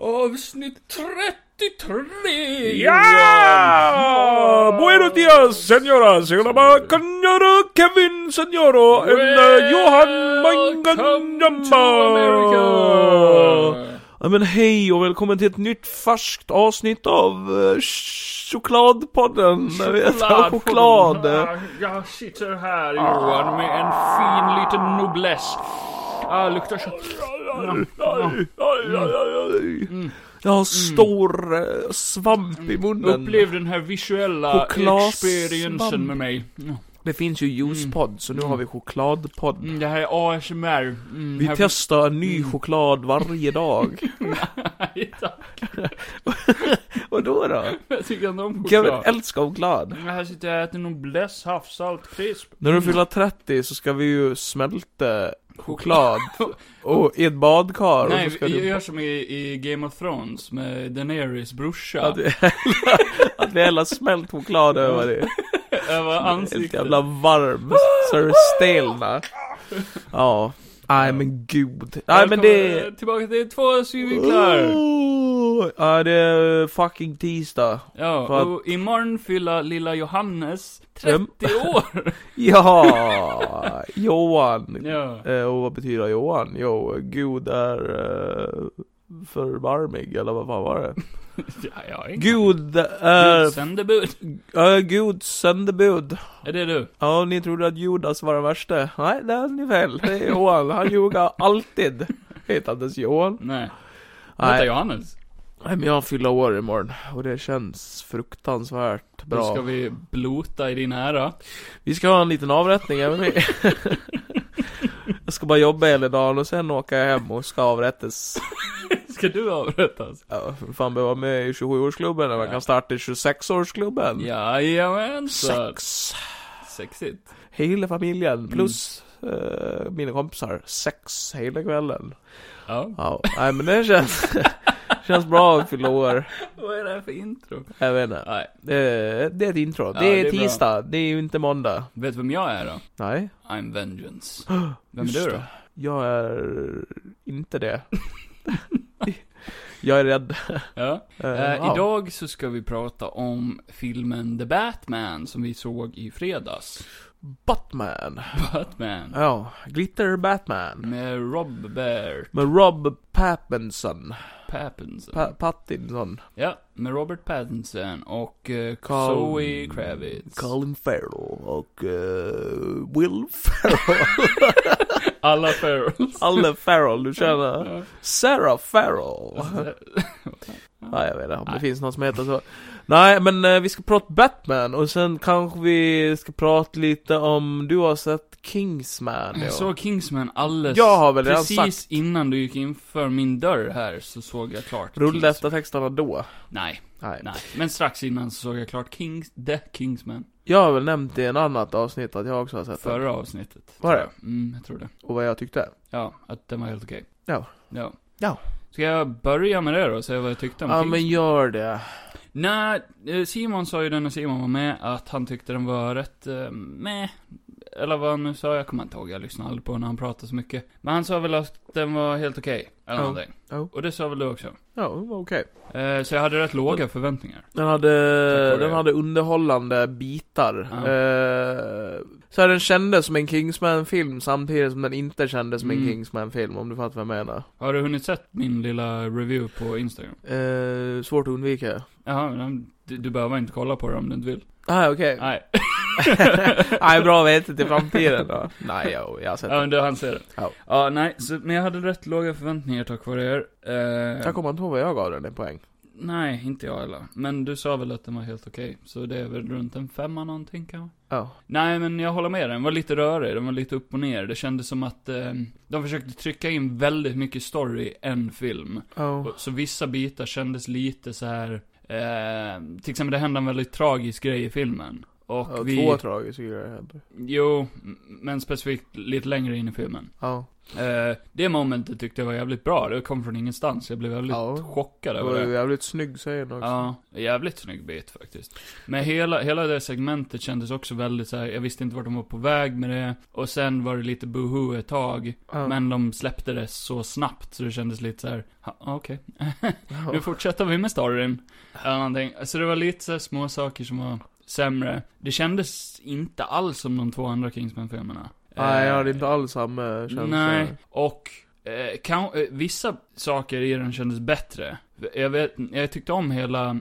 Avsnitt 33! Ja! Buenos dias, señoras. Hola, ma- señora Kevin, señoro, and uh, to Johan Manganjamba. America! Ja, men hej och välkommen till ett nytt färskt avsnitt av uh, Chokladpodden. Jag vet, Choklad. Ah, Jag sitter här Johan med en fin liten nobless. Ah, luktar så... Mm. Jag har stor eh, svamp i munnen. Upplev den här visuella Chokladsvamp. experiencen med mig. Mm. Det finns ju juicepodd, så nu har vi chokladpodd. Mm, Det här är ASMR. Mm, Vi här- Mm. testar en ny choklad varje dag. Vadå då? Jag tycker inte om Kevin choklad. älskar choklad. Men Här sitter jag och äter nobless, havssalt, krisp. När du fyller 30 så ska vi ju smälta choklad. Och i ett badkar. och Nej, så ska jag du... gör som i, i Game of Thrones med Daenerys brorsa. Att vi häller- att vi häller smält choklad över det. Över Helt ansiktet. jävla varm. Så det stelnar. Ja. Nej men gud. Nej men det... Välkommen Tillbaka till två synvinklar. Åh, Ja, det är fucking tisdag. Ja, Vad- och imorgon fyller lilla Johannes 30 år. Ja, Johan. Ja. Eh, och vad betyder Johan? Jo, Gud är eh, förbarmig, eller vad fan var det? ja, ja Gud Gud är... sändebud. Uh, Gud sändebud. Är det du? Ja, ni trodde att Judas var den värsta. Nej, det hade ni fel. Det är Johan. Han ljuger alltid. Heter inte ens Johan. Nej. Vänta Nej. Johannes. Nej, men jag fyller år imorgon. Och det känns fruktansvärt Då ska bra. vi blota i din ära. Vi ska ha en liten avrättning även vi. Jag ska bara jobba hela dagen och sen åka hem och ska avrättas. Ska du avrättas? Ja, för fan behöver vara med i 27-årsklubben när man Ja. kan starta i 26-årsklubben. Jajamensan. Sex. Sexigt. Hela Mm. familjen plus eh, mina kompisar. Sex hela kvällen. Ja. Ja, nej men det känns, känns bra att fylla år. Vad är det här för intro? Jag vet inte. Nej. Det är, det är ett intro. Ja, det är, det är bra. tisdag, det är ju inte måndag. Vet du vem jag är då? Nej, I'm Vengeance. Vem är Just du då? det. jag är inte det. jag är rädd. Ja. Eh, Eh, ja. Idag så ska vi prata om filmen The Batman som vi såg i fredags. Batman. Batman. Ja, Glitter Batman. Med Robert Med Rob Pattinson. Pattinson. Pa- Pattinson. ja, med Robert Pattinson och eh, Carl- Zoe Kravitz. Colin Farrell och eh, Will Farrell. Alla Ferrells. Alla Farrell, du känner. Ja. Sarah Farrell. Ja, jag vet inte om det finns något som heter så. Nej, men eh, vi ska prata Batman och sen kanske vi ska prata lite om, du har sett Kingsman? ja. Jag såg Kingsman alldeles... Jag har väl redan precis sagt. innan du gick in för min dörr här så såg jag klart Rullade Kingsman. efter texterna då? Nej, Nej. nej. Men strax innan så såg jag klart Kings, The Kingsman. Jag har väl nämnt i en annat avsnitt att jag också har sett den. Förra avsnittet. Var tror jag. Mm, jag tror det. Och vad jag tyckte. Ja, att den var helt okej. Ja. Ja. Ja. Ska jag börja med det då och säga vad jag tyckte om Ja Kings? men gör det. Nej, eh, Simon sa ju den när Simon var med att han tyckte den var rätt eh, meh. Eller vad han nu sa, jag kommer inte ihåg, jag lyssnade aldrig på när han pratade så mycket. Men han sa väl att den var helt okej, eller Ja. någonting. Ja. Och det sa väl du också. Ja, det var okej. Eh, så jag hade rätt låga förväntningar. Den hade, Tack vare den det. hade underhållande bitar. Ja. Eh, så här, den kändes som en Kingsman-film samtidigt som den inte kändes som en Mm. Kingsman-film, om du fattar vad jag menar. Har du hunnit sett min lilla review på Instagram? Eh, svårt att undvika. Jaha, men du, du behöver inte kolla på det om du inte vill. Ah, okej. Nej. Nej, bra att veta till framtiden då. Nej, jag, jag har sett Ja, men den. det han ser det. Ja. Ja, nej, så, men jag hade rätt låga förväntningar tack vare er. Eh, Jag kommer inte ihåg vad jag gav den i poäng. Nej, inte jag heller. Men du sa väl att den var helt okej, så det är väl runt en femma någonting kanske? Ja. Nej, men jag håller med dig. Den var lite rörig, den var lite upp och ner. Det kändes som att eh, de försökte trycka in väldigt mycket story i en film. Oh. Och- Så vissa bitar kändes lite så här. Eh, till exempel det hände en väldigt tragisk grej i filmen. Och Ja, vi... Två tragiska grejer händer. Jo, m- men specifikt lite längre in i filmen. Ja. Eh, det momentet tyckte jag var jävligt bra. Det kom från ingenstans. Jag blev jävligt Ja. chockad Det över var det. ju jävligt snygg scen också. Ja, jävligt snygg bit faktiskt. Men hela, hela det segmentet kändes också väldigt så här. jag visste inte vart de var på väg med det. Och sen var det lite boho ett tag. Ja. Men de släppte det så snabbt så det kändes lite så här. "Ja, okej. Ja. nu fortsätter vi med storyn. Eller någonting. Så det var lite så här små saker som var sämre. Det kändes inte alls som de två andra Kingsman-filmerna. Nej, jag Eh, hade inte alls samma känsla. Nej, och eh, kan, eh, vissa saker i den kändes bättre. Jag, vet, jag tyckte om hela,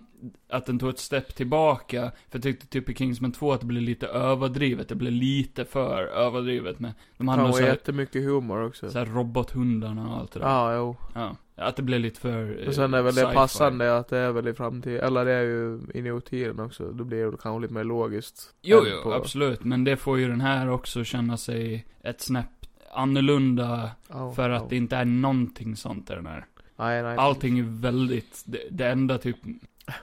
att den tog ett steg tillbaka. För jag tyckte typ i Kingsman 2 att det blev lite överdrivet. Det blev lite för överdrivet med, de hade Han någon var så här, jättemycket humor också. så här robothundarna och allt det där. Ja, jo. Ja. Att det blev lite för eh, Och sen är väl det sci-fi. passande att det är väl i framtiden, eller det är ju in i otiden också. Då blir det väl kanske lite mer logiskt. Jo, än jo, på- absolut. Men det får ju den här också känna sig ett snäpp annorlunda. Ja, För att ja. det inte är någonting sånt i den här. Nej, nej. Allting är väldigt, det, det enda typ,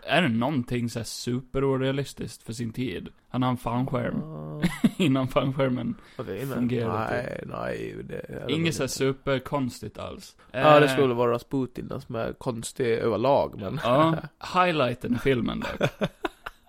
är det någonting såhär superorealistiskt för sin tid? Han har en fanskärm Ja, innan fanskärmen. jag vet inte. Fungerar det Nej, nej. Det är det väl Inget såhär inte. superkonstigt alls. Ja, det Eh, skulle vara Rasputin som är konstig överlag, men... Ja, highlighten i filmen dock.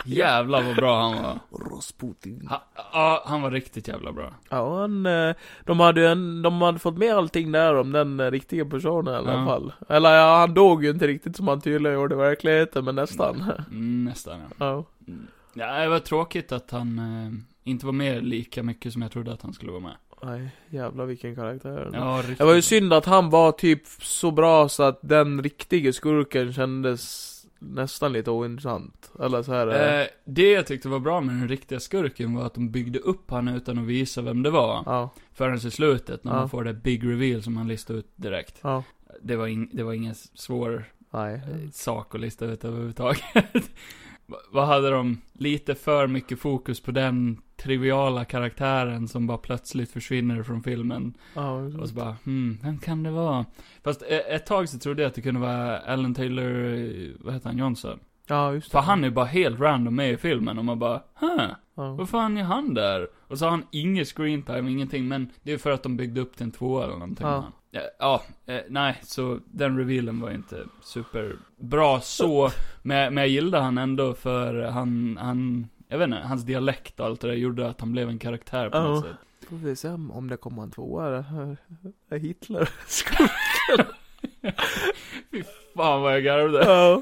Jävlar vad bra han var. Rasputin. Ha- Ja, han var riktigt jävla bra. Ja, han, eh, de hade ju en, de hade fått med allting där om den eh, riktiga personen i alla Ja. fall. Eller ja, han dog ju inte riktigt som han tydligen gjorde i verkligheten, men nästan. Mm, nästan ja. Ja. Mm. ja. Det var tråkigt att han eh, inte var med lika mycket som jag trodde att han skulle vara med. Nej, jävlar vilken karaktär. Ja, riktigt. Det var ju synd att han var typ så bra så att den riktiga skurken kändes nästan lite ointressant. Eller så här. eh, Eh, det jag tyckte var bra med den riktiga skurken var att de byggde upp han utan att visa vem det var. Ja, Förrän i slutet, när Ja. man får det big reveal som man listar ut direkt. ja. Det var, in, det var ingen svår Nej. eh, sak att lista ut överhuvudtaget. Va- Vad hade de? Lite för mycket fokus på den triviala karaktären som bara plötsligt försvinner från filmen. Ja, Och så bara, hmm, vem kan det vara? Fast eh, ett tag så trodde jag att det kunde vara Alan Taylor, eh, vad heter han, Johnson? ja, just För det. han är bara helt random med i filmen och man bara, huh? Ja. Vad fan är han där? Och så har han ingen screentime, ingenting, men det är för att de byggde upp till en tvåa eller någonting. Ja. Ja, ja eh, nej, så den revealen var inte superbra så, men, jag- men jag gillade han ändå för han, han, jag vet inte, hans dialekt och allt det där gjorde att han blev en karaktär på Ja. något sätt. Får vi se om om det kommer en tvåa det här. är Hitler. Fan vad jag garvade. Ja.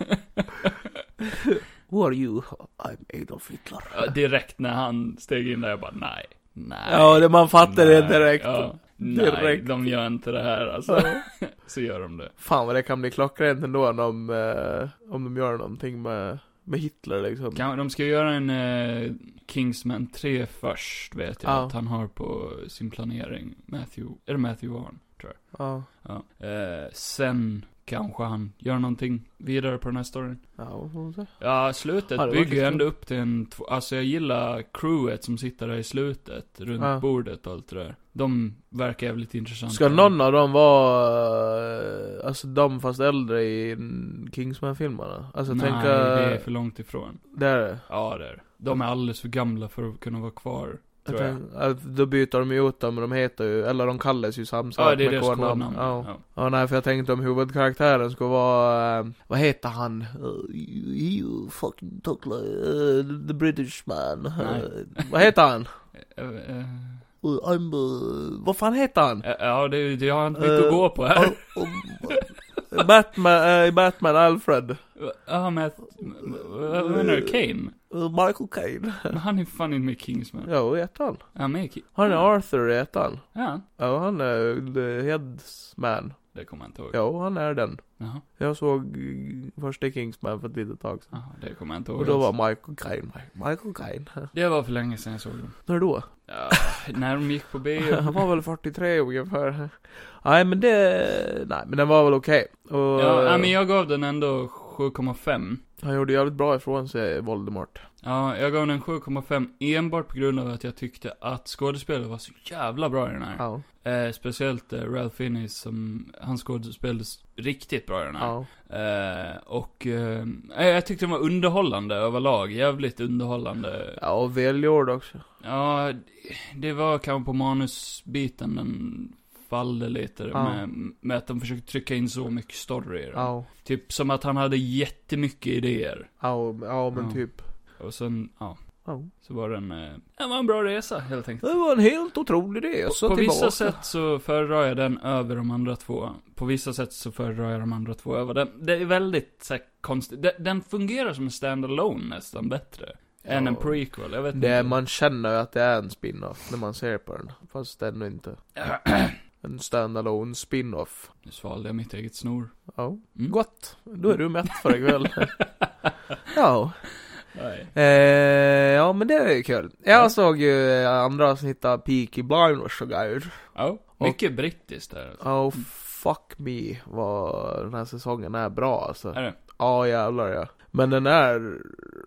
Who are you? I'm Adolf Hitler. Ja, direkt när han steg in där, jag bara, nej, nej. Ja, det man fattar det nej, direkt. Ja, nej, Direkt. de gör inte det här alltså. Ja. Så gör de det. Fan vad det kan bli klockrent ändå om, de, eh, om de gör någonting med, med Hitler liksom. Kan, de ska göra en eh, Kingsman 3 först, vet jag Ja. att han har på sin planering. Matthew, är det Matthew Vaughn, tror jag. Ja. Ja. Eh, sen kanske han gör någonting vidare på den här storyn. Ja, får vi se. Ja, slutet Ja, det var bygger ju lite ändå upp till en, tv- alltså jag gillar crewet som sitter där i slutet, runt Ja. bordet och allt det där. De verkar jävligt intressanta. Ska någon av dem vara, eh, alltså de fast äldre i Kingsman-filmerna? Alltså Nej, tänka... det är för långt ifrån. Det är det. Ja, det är det. De är alldeles för gamla för att kunna vara kvar, Jag tror jag. tänk, att då byter de ju ut dem, men de heter ju, eller de kallas ju samma sak Ja, det är med deras kodnamn. kodnamn. Ja. Ja. ja, nej för jag tänkte om huvudkaraktären skulle vara, eh, vad heter han? Eh, you, you fucking talk like, eh, the British man. Nej. Eh, vad heter han? Eh, eh, Eh, I'm, eh, vad fan heter han? Ja, Ja, det, det har inte mycket Eh, att gå på här. Oh, oh, Batman, eh, Batman Alfred. Ja, men... att- Vad menar du? Kane? Eh, Michael Caine. Men han är fan inte med i Kingsman. Är Jo, i ettan. Han med i Ki- Han är Arthur i ettan. Ja, Ja, han är the headsman. det kommer jag inte ihåg. Jo, han är den. Jaha, Jag såg eh, första Kingsman för ett litet tag sedan. jaha, det kommer jag inte ihåg. Och då var alls. Michael Caine med. Michael Caine. Det var för länge sedan jag såg dem. När då? Ja, när de gick på bio. Han var väl 43 ungefär. Nej men det, nej men den var väl okej. Och- Ja, ja, men jag gav den ändå 7,5. Han gjorde jävligt bra ifrån sig, Voldemort. Ja, jag gav den en 7,5 enbart på grund av att jag tyckte att skådespelare var så jävla bra i den här. Ja. Eh, speciellt eh, Ralph Fiennes som, han skådespelades riktigt bra i den här. Ja. Eh, och, eh, jag tyckte den var underhållande överlag, jävligt underhållande. Ja, och välgjord också. Ja, det var kanske på manusbiten den fallde lite Ja. med, med att de försökte trycka in så mycket story i den. Ja. Typ som att han hade jättemycket idéer. Ja, ja men Ja. typ. Och sen, ja, Ja. så var den, eh, det var en bra resa helt enkelt. Det var en helt otrolig resa På, på tillbaka. vissa sätt så föredrar jag den över de andra två. På vissa sätt så föredrar jag de andra två över den. Det är väldigt så här, konstigt. Den, den fungerar som en standalone nästan bättre. Än Ja. en prequel, jag vet Det, inte. man känner ju att det är en spin-off när man ser på den. Fast ändå inte. En standalone spin-off. Nu svalde jag mitt eget snor. Ja. Mm. Gott. Då är du mätt för ikväll. ja. Nej. Eh, ja men det är ju kul. Jag Ja. såg ju eh, andra avsnitt av Peaky Blinders och grejer. Ja, mycket brittiskt där. alltså. Oh fuck me vad den här säsongen är bra alltså. Är det? Ja jävlar ja. Men den är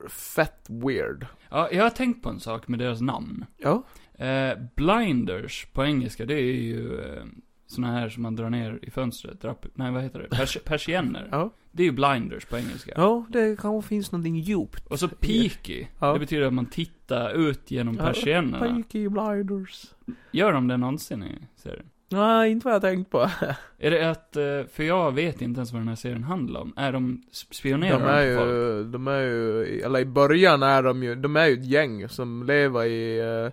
fett weird. Ja, jag har tänkt på en sak med deras namn. Ja. Eh, blinders på engelska, det är ju eh, såna här som man drar ner i fönstret. Drap, nej, vad heter det? Pers, persienner. Ja. Det är ju blinders på engelska. Ja det kanske finns någonting djupt. Och så peaky, Ja. det betyder att man tittar ut genom Ja. persiennerna. Peaky Blinders. Gör de det någonsin i serien? Nej inte vad jag tänkt på. Är det att, eh, för jag vet inte ens vad den här serien handlar om. Är de sp- De spionerar är på folk? ju, de är ju, eller i början är de ju, de är ju ett gäng som lever i eh,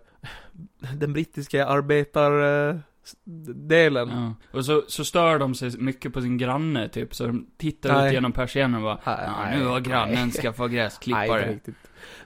den brittiska arbetardelen. Ja. Och så, så stör de sig mycket på sin granne typ, så de tittar Nej. ut genom persiennen och bara Nej, "Ja, nu har nej, grannen nej." skaffat Nej, inte gräsklippare. riktigt.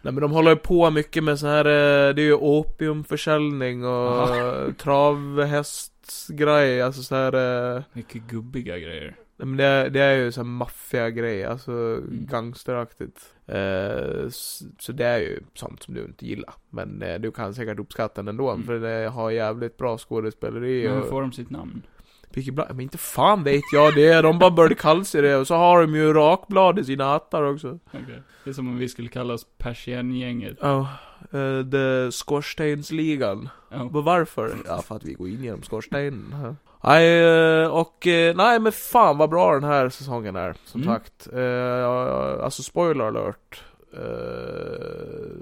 Nej men de håller ju på mycket med så här eh, det är ju opiumförsäljning och Aha. travhästgrejer, alltså så här eh, Mycket gubbiga grejer. nej, men det, är- det är ju så här maffiagrejer, alltså gangsteraktigt. Eh, s- så det är ju sånt som du inte gillar. Men eh, du kan säkert uppskatta den ändå, Mm. för det har jävligt bra skådespeleri Men hur och... får de sitt namn? Peaky Blinders, men inte fan vet jag det, de bara började kalla sig det och så har de ju rakblad i sina hattar också. Okej. Det är som om vi skulle kalla oss persienngänget. Ja, eh, The Skorstensligan. Ja. Men varför? Ja, för att vi går in genom skorstenen. Ja. Nej, eh, och eh, nej men fan vad bra den här säsongen är, som Mm. sagt. Eh, Alltså spoiler alert. Uh,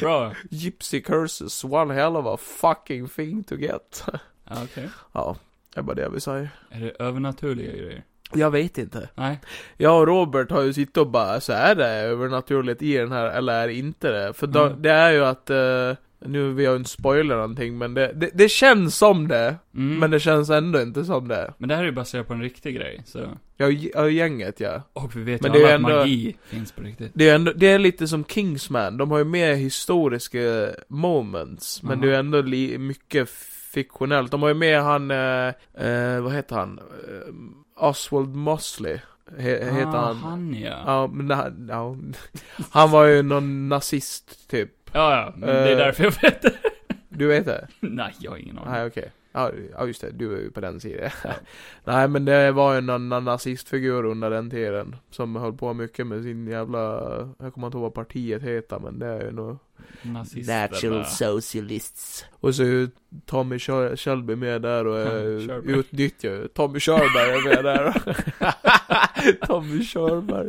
Bra. Gypsy curses, one hell of a fucking thing to get. Ja, okej. ja, det är bara det jag vill säga. Är det övernaturliga grejer? Jag vet inte. Nej. Jag och Robert har ju suttit och bara, så är det övernaturligt i den här, eller är det inte det? För då, Mm. det är ju att, eh, nu vill jag inte spoila någonting, men det, det, det känns som det, Mm. men det känns ändå inte som det. Men det här är ju baserat på en riktig grej, så... Ja, j- ja gänget ja. Och vi vet Men ju det är alla ju att ändå- magi finns på riktigt. Det är, ändå, det är lite som Kingsman, de har ju mer historiska moments, men Aha. det är ju ändå li, mycket fiktionellt. De har ju med han, eh, eh, vad heter han? Eh, Oswald Mosley, he, Eh, heter han. Ah, han ja. Ja, men han, ja. han var ju någon nazist typ. Ja, ja. Men det är Eh. därför jag vet det. Du vet det? Nej, jag har ingen aning. Nej, okej. Ja, Ja, just det. Du är ju på den sidan. Nej, men det var ju någon någon nazistfigur under den tiden. Som höll på mycket med sin jävla... Jag kommer inte ihåg vad partiet heter, men det är ju nog... Nazister bara. Socialists. Och så är ju Tommy Kör- Shelby med där och Tommy är- Körberg. utnyttjar ju... Tommy Körberg är med där. Tommy Körberg.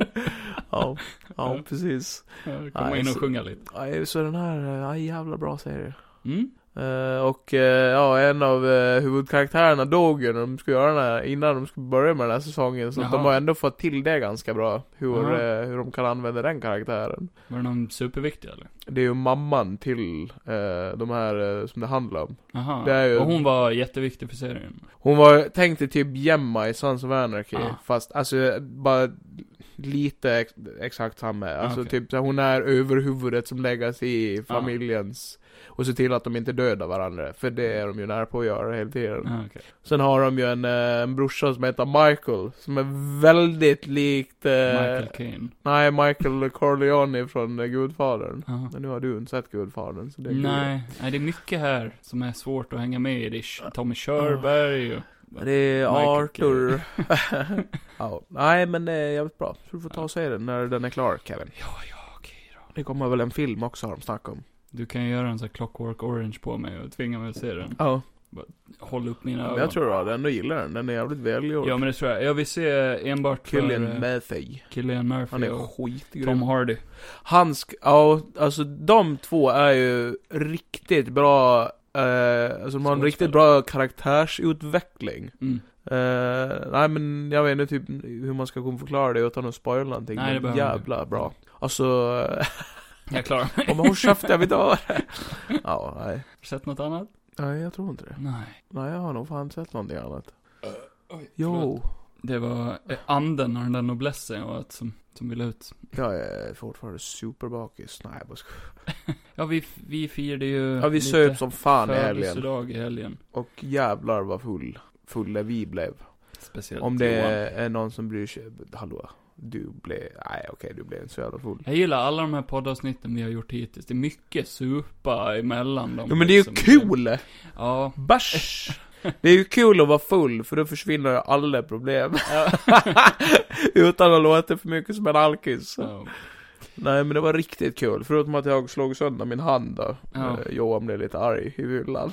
Ja, ja precis. Ja, Komma Nej, in och så- sjunga lite. Ja, så den här... Ja, jävla bra serie. Mm? Eh, och eh, ja, en av eh, huvudkaraktärerna dog ju när de skulle göra den här, innan de skulle börja med den här säsongen. Så att Jaha. de har ändå fått till det ganska bra, hur, Jaha. eh, hur de kan använda den karaktären. Var det någon superviktig eller? Det är ju mamman till eh, de här eh, som det handlar om. Jaha. Det är ju- Och hon var jätteviktig för serien. Hon var, tänkte typ Gemma i Sons of Anarchy, Ah. fast alltså bara lite ex, exakt samma. Alltså okej. typ så här, hon är överhuvudet som läggas i familjens, och se till att de inte dödar varandra, för det är de ju nära på att göra hela tiden. Mm. Ja, Ah, okej. Sen har de ju en, eh, en brorsa som heter Michael, som är väldigt likt... Eh, Michael Caine. Nej, Michael Corleone från eh, Gudfadern. Jaha. Men nu har du inte sett Gudfadern, så det är kul. Nej, nej, det är mycket här som är svårt att hänga med i. Det är Tommy Körberg och Men Det är Michael Arthur. ja, nej men det är jävligt bra. Så du får ta och se den när den är klar Kevin. Ja, ja, Ah. okej då. Det kommer väl en film också har de snackat om. Du kan ju göra en sån här clockwork orange på mig och tvinga mig att se den. Ja. Håll upp mina ögon. Jag tror att du ändå gillar den. Den är jävligt välgjord. Ja, men det tror jag. Jag vill se enbart Killian för... eh, Murphy. Killian Han Murphy är och skitgrym. Tom Hardy. Han sk- ja, alltså de två är ju riktigt bra, eh, alltså de har en Skådespelare. riktigt bra karaktärsutveckling. Mm. Eh, nej men jag vet inte typ hur man ska kunna förklara det utan att spoila någonting. Nej, det Men behöver man inte. Jävla bra. Alltså, Jag klarar mig. om håll käften jag vill inte höra det. Ja, nej. Har du sett något annat? Nej, jag tror inte det. Nej. Nej, jag har nog fan sett någonting annat. Oj, Jo. Det var eh, anden och den där noblessen och att som, som ville ut. Jag är fortfarande superbakis. Nej, jag bara skojar. Ja, vi, vi firade ju... Ja, vi lite söp som fan i helgen. födelsedag i helgen. Och jävlar vad full, fulla vi blev. Speciellt Om det Johan. är någon som bryr sig, hallå? Du blev, nej okej du blev inte så jävla full. Jag gillar alla de här poddavsnitten vi har gjort hittills. Det är mycket supa emellan dem. Jo men det är ju liksom. kul! Ja. Bärs! Det är ju kul att vara full, för då försvinner ju alla problem. Utan att låta för mycket som en alkis. ja. Nej men det var riktigt kul, förutom att jag slog sönder min hand då. Ja. Eh, Johan blev lite arg i hyllan.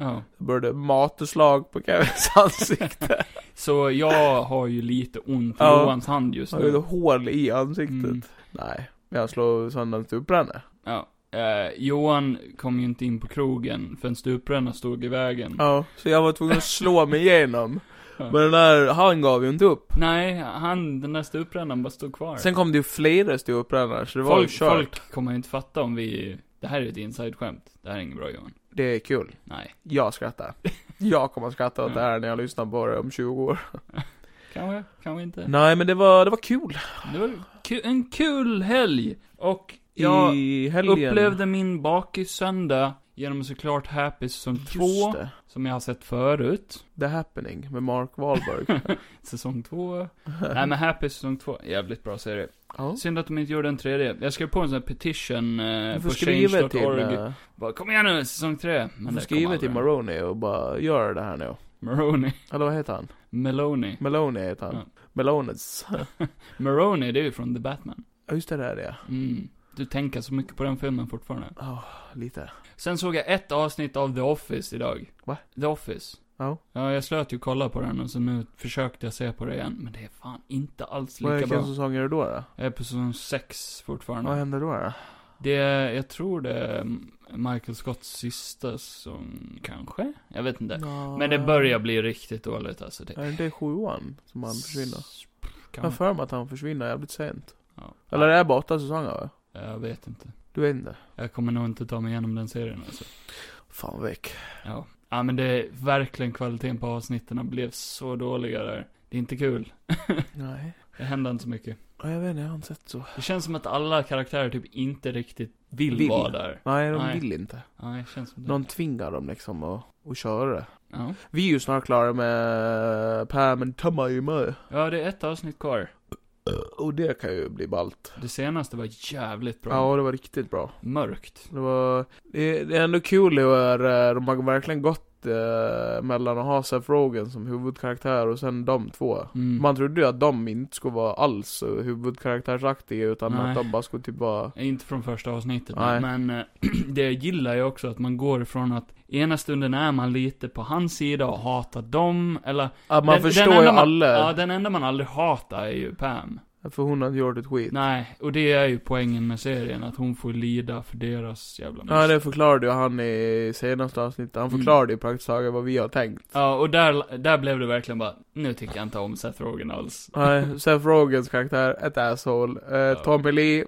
ja. Det började mateslag på Kevins ansikte. Så jag har ju lite ont i Ja. Johans hand just Han hade nu. ett hål i ansiktet. Mm. Nej, men jag slog sönder en stupränna. Ja. Eh, Johan kom ju inte in på krogen för en stupränna stod i vägen. Ja, så jag var tvungen att slå mig igenom. Ja. Men den där, han gav ju inte upp. Nej, han, den där stuprännan bara stod kvar. Sen kom det ju flera ståupprännare, så det var ju folk, kört. folk kommer ju inte fatta om vi... Det här är ett inside-skämt. Det här är inget bra Johan. Det är kul. Nej. Jag skrattar. Jag kommer att skratta åt det här när jag lyssnar på det om 20 år. Kanske, kanske inte. Nej, men det var, det var kul. Det var ku- en kul helg. Och jag I helgen. upplevde min bakis-söndag genom såklart Happy säsong 2, Just det. som jag har sett förut. The Happening med Mark Wahlberg. Säsong 2. Nej men Happy säsong 2, jävligt bra serie. ja. Synd att de inte gjorde en tredje. Jag skrev på en sån här petition Du eh, får på skriva till, change.org. eh, Bara, Kom igen nu, säsong 3. du får skriva till Maroney och bara gör det här nu. Maroney. Eller vad heter han? Meloni. Meloni heter han. Ja. Melones. Maroney, det är ju från The Batman. Ja, just det, där är det. Mm. Du tänker så mycket på den filmen fortfarande. Ja, lite. Sen såg jag ett avsnitt av The Office idag. Va? The Office. Ja. Ja, jag slöt ju kolla på den och så nu försökte jag se på det igen. Men det är fan inte alls lika Vilken bra. säsong är det då? då? Jag är på säsong 6 fortfarande. Vad händer då? då? Det, är- jag tror det är Michael Scotts sista som kanske? Jag vet inte. Ja, Men det börjar bli riktigt dåligt alltså. Det Är det inte sjuan som han försvinner? Jag har Kan... för mig att han försvinner jävligt sent. Ja. Eller är det bara åtta säsonger va? Jag vet inte. Du vet inte. Jag kommer nog inte ta mig igenom den serien alltså. Fan väck. Ja. ja, men det är verkligen kvaliteten på avsnitten blev så dåliga där. Det är inte kul. Nej. Det händer inte så mycket. Ja, Jag vet inte, jag har inte sett så. Det känns som att alla karaktärer typ inte riktigt vill, Vill. vara där. Nej, de Nej. vill inte. Ja, det känns som det. Någon tvingar dem liksom att, att köra det. Ja. Vi är ju snart klara med eh, Pam and Tomaimo. ja, det är ett avsnitt kvar. Och det kan ju bli ballt. Det senaste var jävligt bra. Ja, det var riktigt bra. Mörkt. Det var... Det, det är ändå kul hur eh, de har verkligen gått eh, mellan att ha Seth Rogen som huvudkaraktär och sen de två. Mm. Man trodde ju att de inte skulle vara alls eh, huvudkaraktärsaktiga utan Nej. att de bara skulle typ vara... Inte från första avsnittet, Nej. men eh, det jag gillar ju också att man går ifrån att ena stunden är man lite på hans sida och hatar dem, eller... Att man den, förstår den ju enda man, alla. Ja, den enda man aldrig hatar är ju Pam. För hon har inte gjort ett skit. Nej, och det är ju poängen med serien, att hon får lida för deras jävla Ja, mist. det förklarade ju han i senaste avsnittet. Han Mm. förklarade ju praktiskt taget vad vi har tänkt. Ja, och där, där blev det verkligen bara, nu tycker jag inte om Seth Rogen alls. Nej, Seth Rogens karaktär, ett asshole. Eh, Ja. Tommy Lee, eh,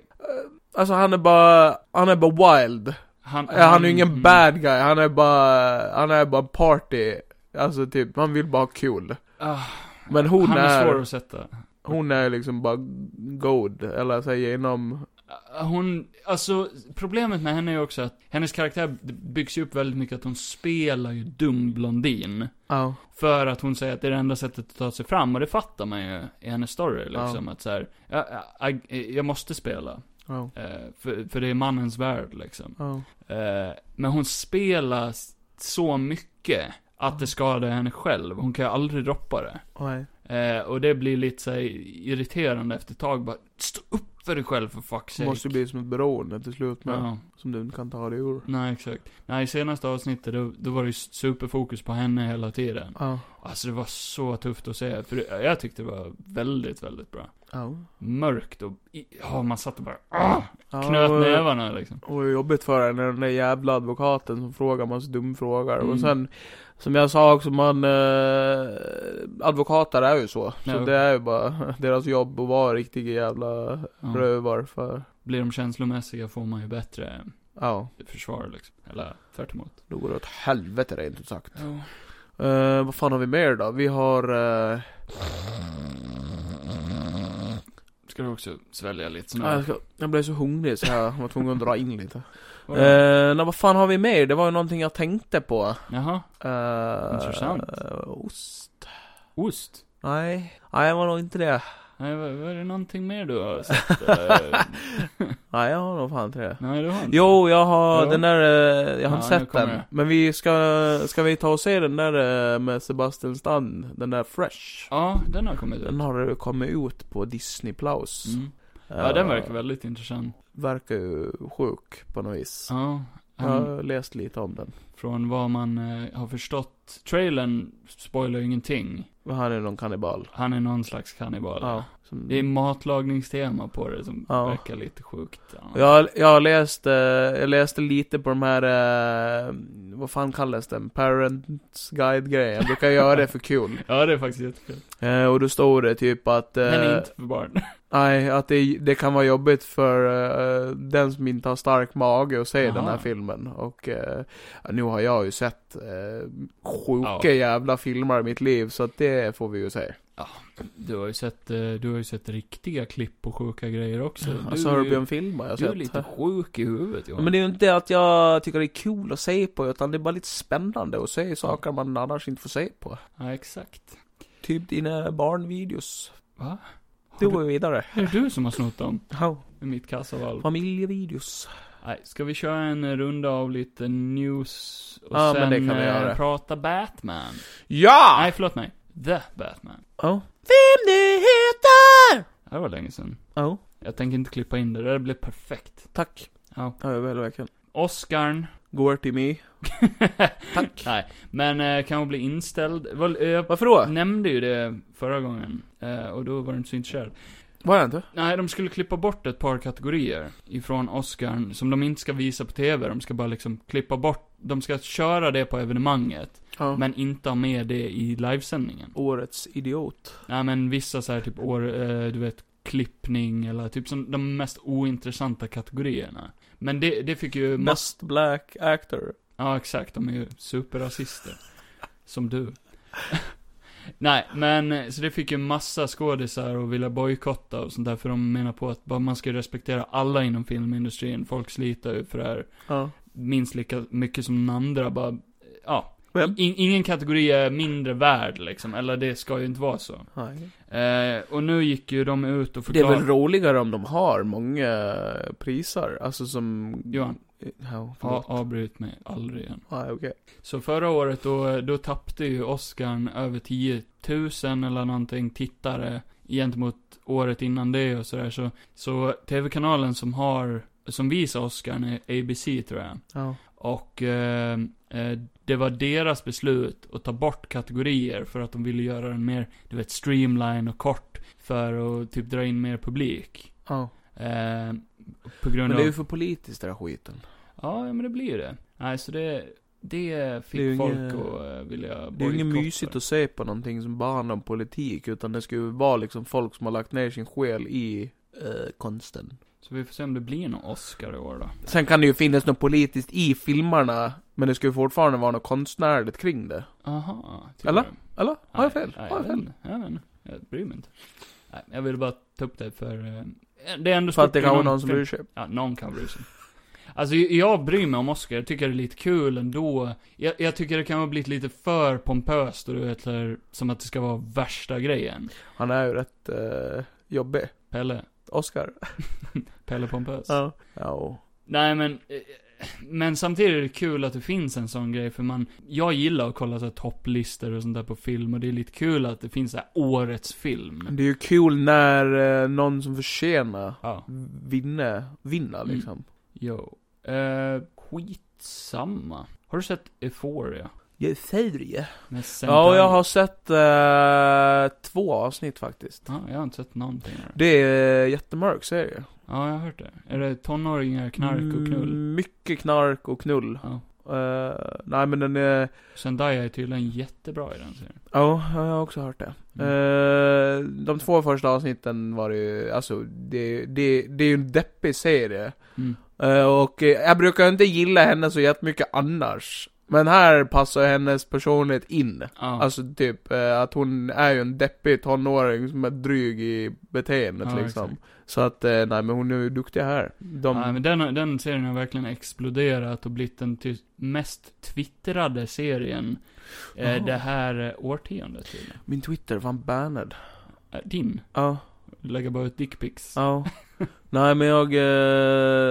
alltså han är bara, han är bara wild. Han, Ja, han är ju ingen mm, bad guy, han är bara, han är bara party. Alltså typ, han vill bara ha kul. ah, Men hon han är svår är, att sätta. hon är liksom bara god, eller säger inom, Hon, alltså problemet med henne är också att hennes karaktär byggs ju upp väldigt mycket att hon spelar ju dum blondin. ja. För att hon säger att det är det enda sättet att ta sig fram, och det fattar man ju i hennes story liksom. Ja. Att så här, jag, jag, jag måste spela. ja, eh, För, för det är mannens värld liksom. ja. Eh, Men hon spelar s- så mycket att det skadar henne själv. Hon kan ju aldrig droppa det. Nej. Eh, och det blir lite så här irriterande efter ett tag. Bara, stå upp för dig själv för fuck's Det sake. måste ju bli som ett beroende till slut med. Ja, Som du inte kan ta dig ur. nej exakt. Nej, i senaste avsnittet då, då var det ju superfokus på henne hela tiden. Ja. Alltså det var så tufft att se. För det, jag tyckte det var väldigt, väldigt bra. Ja. Mörkt och, i- ja man satt och bara, ah, Ja, knöt och- nävarna liksom. Och det är jobbigt för henne, den där jävla advokaten som frågar massa dumfrågor. Mm. Och sen, som jag sa också, man... Eh, advokater är ju så. Ja. Så det är ju bara deras jobb att vara riktiga jävla Ja. rövar för... Blir de känslomässiga får man ju bättre Ja, försvar liksom. Eller tvärt emot. då går det åt helvete rent ut sagt. Ja. Eh, vad fan har vi mer då? Vi har... Eh, Ska du också svälja lite sån ah, här? jag, ska, jag blev så hungrig så jag var tvungen att dra in lite. Vadå? Eh, nej, vad fan har vi mer? Det var ju någonting jag tänkte på. Jaha, Eh, Intressant. eh, ost? ost? Nej, nej det var nog inte det. Nej, var, var det någonting mer du har sett? Eh, Nej, jag har nog fan inte det. Nej, du har inte? Jo, jag har Ja. den där, eh, jag har Ja, inte nu sett kommer den. det. Men vi ska, ska vi ta och se den där eh, med Sebastian Stan, den där Fresh. Ja, den har kommit ut. Den har kommit ut på Disney Plus. Mm. Ja, den verkar väl. väldigt intressant. Verkar ju sjuk på något vis. Ja. Mm. Jag han- har läst lite om den. Från vad man eh, har förstått, trailern spoilar ju ingenting. Men han är någon kannibal. Han är någon slags kannibal. Ja. Som, Det är matlagningstema på det som Ja. verkar lite sjukt. Ja. jag, jag, läste, jag läste lite på de här, eh, vad fan kallas den? Parents Guide-grejen. Jag brukar göra det för kul. Ja, det är faktiskt jättekul. Eh, och då stod det typ att... eh, Den är inte för barn. Nej, att det, det kan vara jobbigt för eh, den som inte har stark mage att se Aha. den här filmen. Och eh, nu har jag ju sett eh, sjuka Ja. jävla filmer i mitt liv, så att det får vi ju se. Du har ju sett, eh, du har ju sett riktiga klipp på sjuka grejer också. Du, Alltså är ju- Serbian-filmer har jag du är sett. lite sjuk i huvudet Johan. Men det är ju inte att jag tycker det är kul att se på, utan det är bara lite spännande att se saker man annars inte får se på. Ja, exakt. Typ dina barnvideos. Va? Det Har går ju vidare. Är det du som har snott dem? Ja. I mitt kassavalv? Familjevideos. Nej, ska vi köra en runda av lite news och Ja, sen men det kan vi eh, göra. Ah. prata Batman? Ja! Nej, förlåt mig. The Batman. Ja. Filmnyheter! Det här var länge sedan. Ja. Jag tänker inte klippa in det, det där blev perfekt. Tack. Ja. Ja, jag vill verkligen. Oscarn. Går till mig. Tack. Nej, men eh, kan hon bli inställd? Väl, eh, Jag Varför då? nämnde ju det förra gången, eh, och då var du inte så intresserad. Var jag inte? Nej, de skulle klippa bort ett par kategorier ifrån Oscarn som de inte ska visa på TV. De ska bara liksom klippa bort, de ska köra det på evenemanget, Ja. men inte ha med det i livesändningen. Årets idiot. Nej, men vissa så här typ år, eh, du vet, klippning eller typ som de mest ointressanta kategorierna. Men det, det fick ju... ma- Best black actor. Ja, exakt. De är ju superrasister. Som du. Nej, men eh, så det fick ju massa skådisar och vilja bojkotta och sånt där. För de menar på att bara man ska respektera alla inom filmindustrin. Folk sliter ju för det här Ja. minst lika mycket som den andra. Bara, eh, ja. Vem? In, ingen kategori är mindre värd liksom. Eller det ska ju inte vara så. Nej. Eh, och nu gick ju de ut och Det är förklarade. väl roligare om de har många priser, alltså som... Johan. Ja, Ja, förlåt. avbryt mig aldrig igen. Nej, okej. Så förra året då, då tappade ju Oscarn över 10 000 eller någonting tittare gentemot året innan det och sådär. Så, så TV-kanalen som har, som visar Oscarn är ABC tror jag. Ja. Och eh, eh, det var deras beslut att ta bort kategorier för att de ville göra den mer, du vet, streamline och kort. För att typ dra in mer publik. Ja. Eh, på grund Men det är av... ju för politiskt det där skiten. Ja, ja, men det blir ju det. Nej, så det, det fick Det är ju folk inget- att eh, vilja bojkotta. Det är ju inget mysigt att se på någonting som bara handlar om politik, utan det ska ju vara liksom folk som har lagt ner sin själ i eh, konsten. Så vi får se om det blir någon Oscar i år då. Sen kan det ju finnas något politiskt i filmerna, men det ska ju fortfarande vara något konstnärligt kring det. Aha. tycker Eller? du? Eller? Har jag Nej, fel? nej, Har jag vet fel? inte. Jag vet inte. Jag bryr mig inte. Nej, jag ville bara ta upp det för... eh, Det är ändå För att stort det kan vara inom någon som film. bryr sig. Ja, någon kan bry sig. Alltså, jag bryr mig om Oscar. Jag tycker det är lite kul ändå. Jag, jag tycker det kan ha blivit lite för pompöst och du vet, så här, som att det ska vara värsta grejen. Han är ju rätt eh, jobbig. Pelle. Oscar. Pelle Pompös. Ja. Ja. och- Nej men, eh, men samtidigt är det kul att det finns en sån grej, för man, jag gillar att kolla så här topplistor och sånt där på film, och det är lite kul att det finns så här årets film. Det är ju kul när eh, någon som förtjänar Ja, vinner, vinner Mm. liksom. jo. Eh, skitsamma. Har du sett Euphoria? Jag säger det Med Sam Ja, och jag Claflin? har sett eh, två avsnitt faktiskt. Ja, jag har inte sett någonting. av det. Det är jättemörk serie. Ja, jag har hört det. Är det tonåringar, knark och knull? Mm, mycket knark och knull. Ja. Eh, nej men den är... Zendaya är tydligen jättebra i den serien. Ja, jag har också hört det. Mm. Eh, de två första avsnitten var det ju, alltså det, det, det är ju en deppig serie. Mm. Eh, och eh, jag brukar inte gilla henne så jättemycket annars. Men här passar hennes personlighet in. Ja. Alltså typ eh, att hon är ju en deppig tonåring som är dryg i beteendet Ja, liksom. exakt. Så att, eh, nej men hon är ju duktig här. De, Nej, men den, har- den serien har verkligen exploderat och blivit den ty- mest twittrade serien eh, Jaha. det här eh, årtiondet tydligen. Min Twitter, fan bannad. Eh, Din. Ja, Lägger bara ut dickpics. ja. nej men jag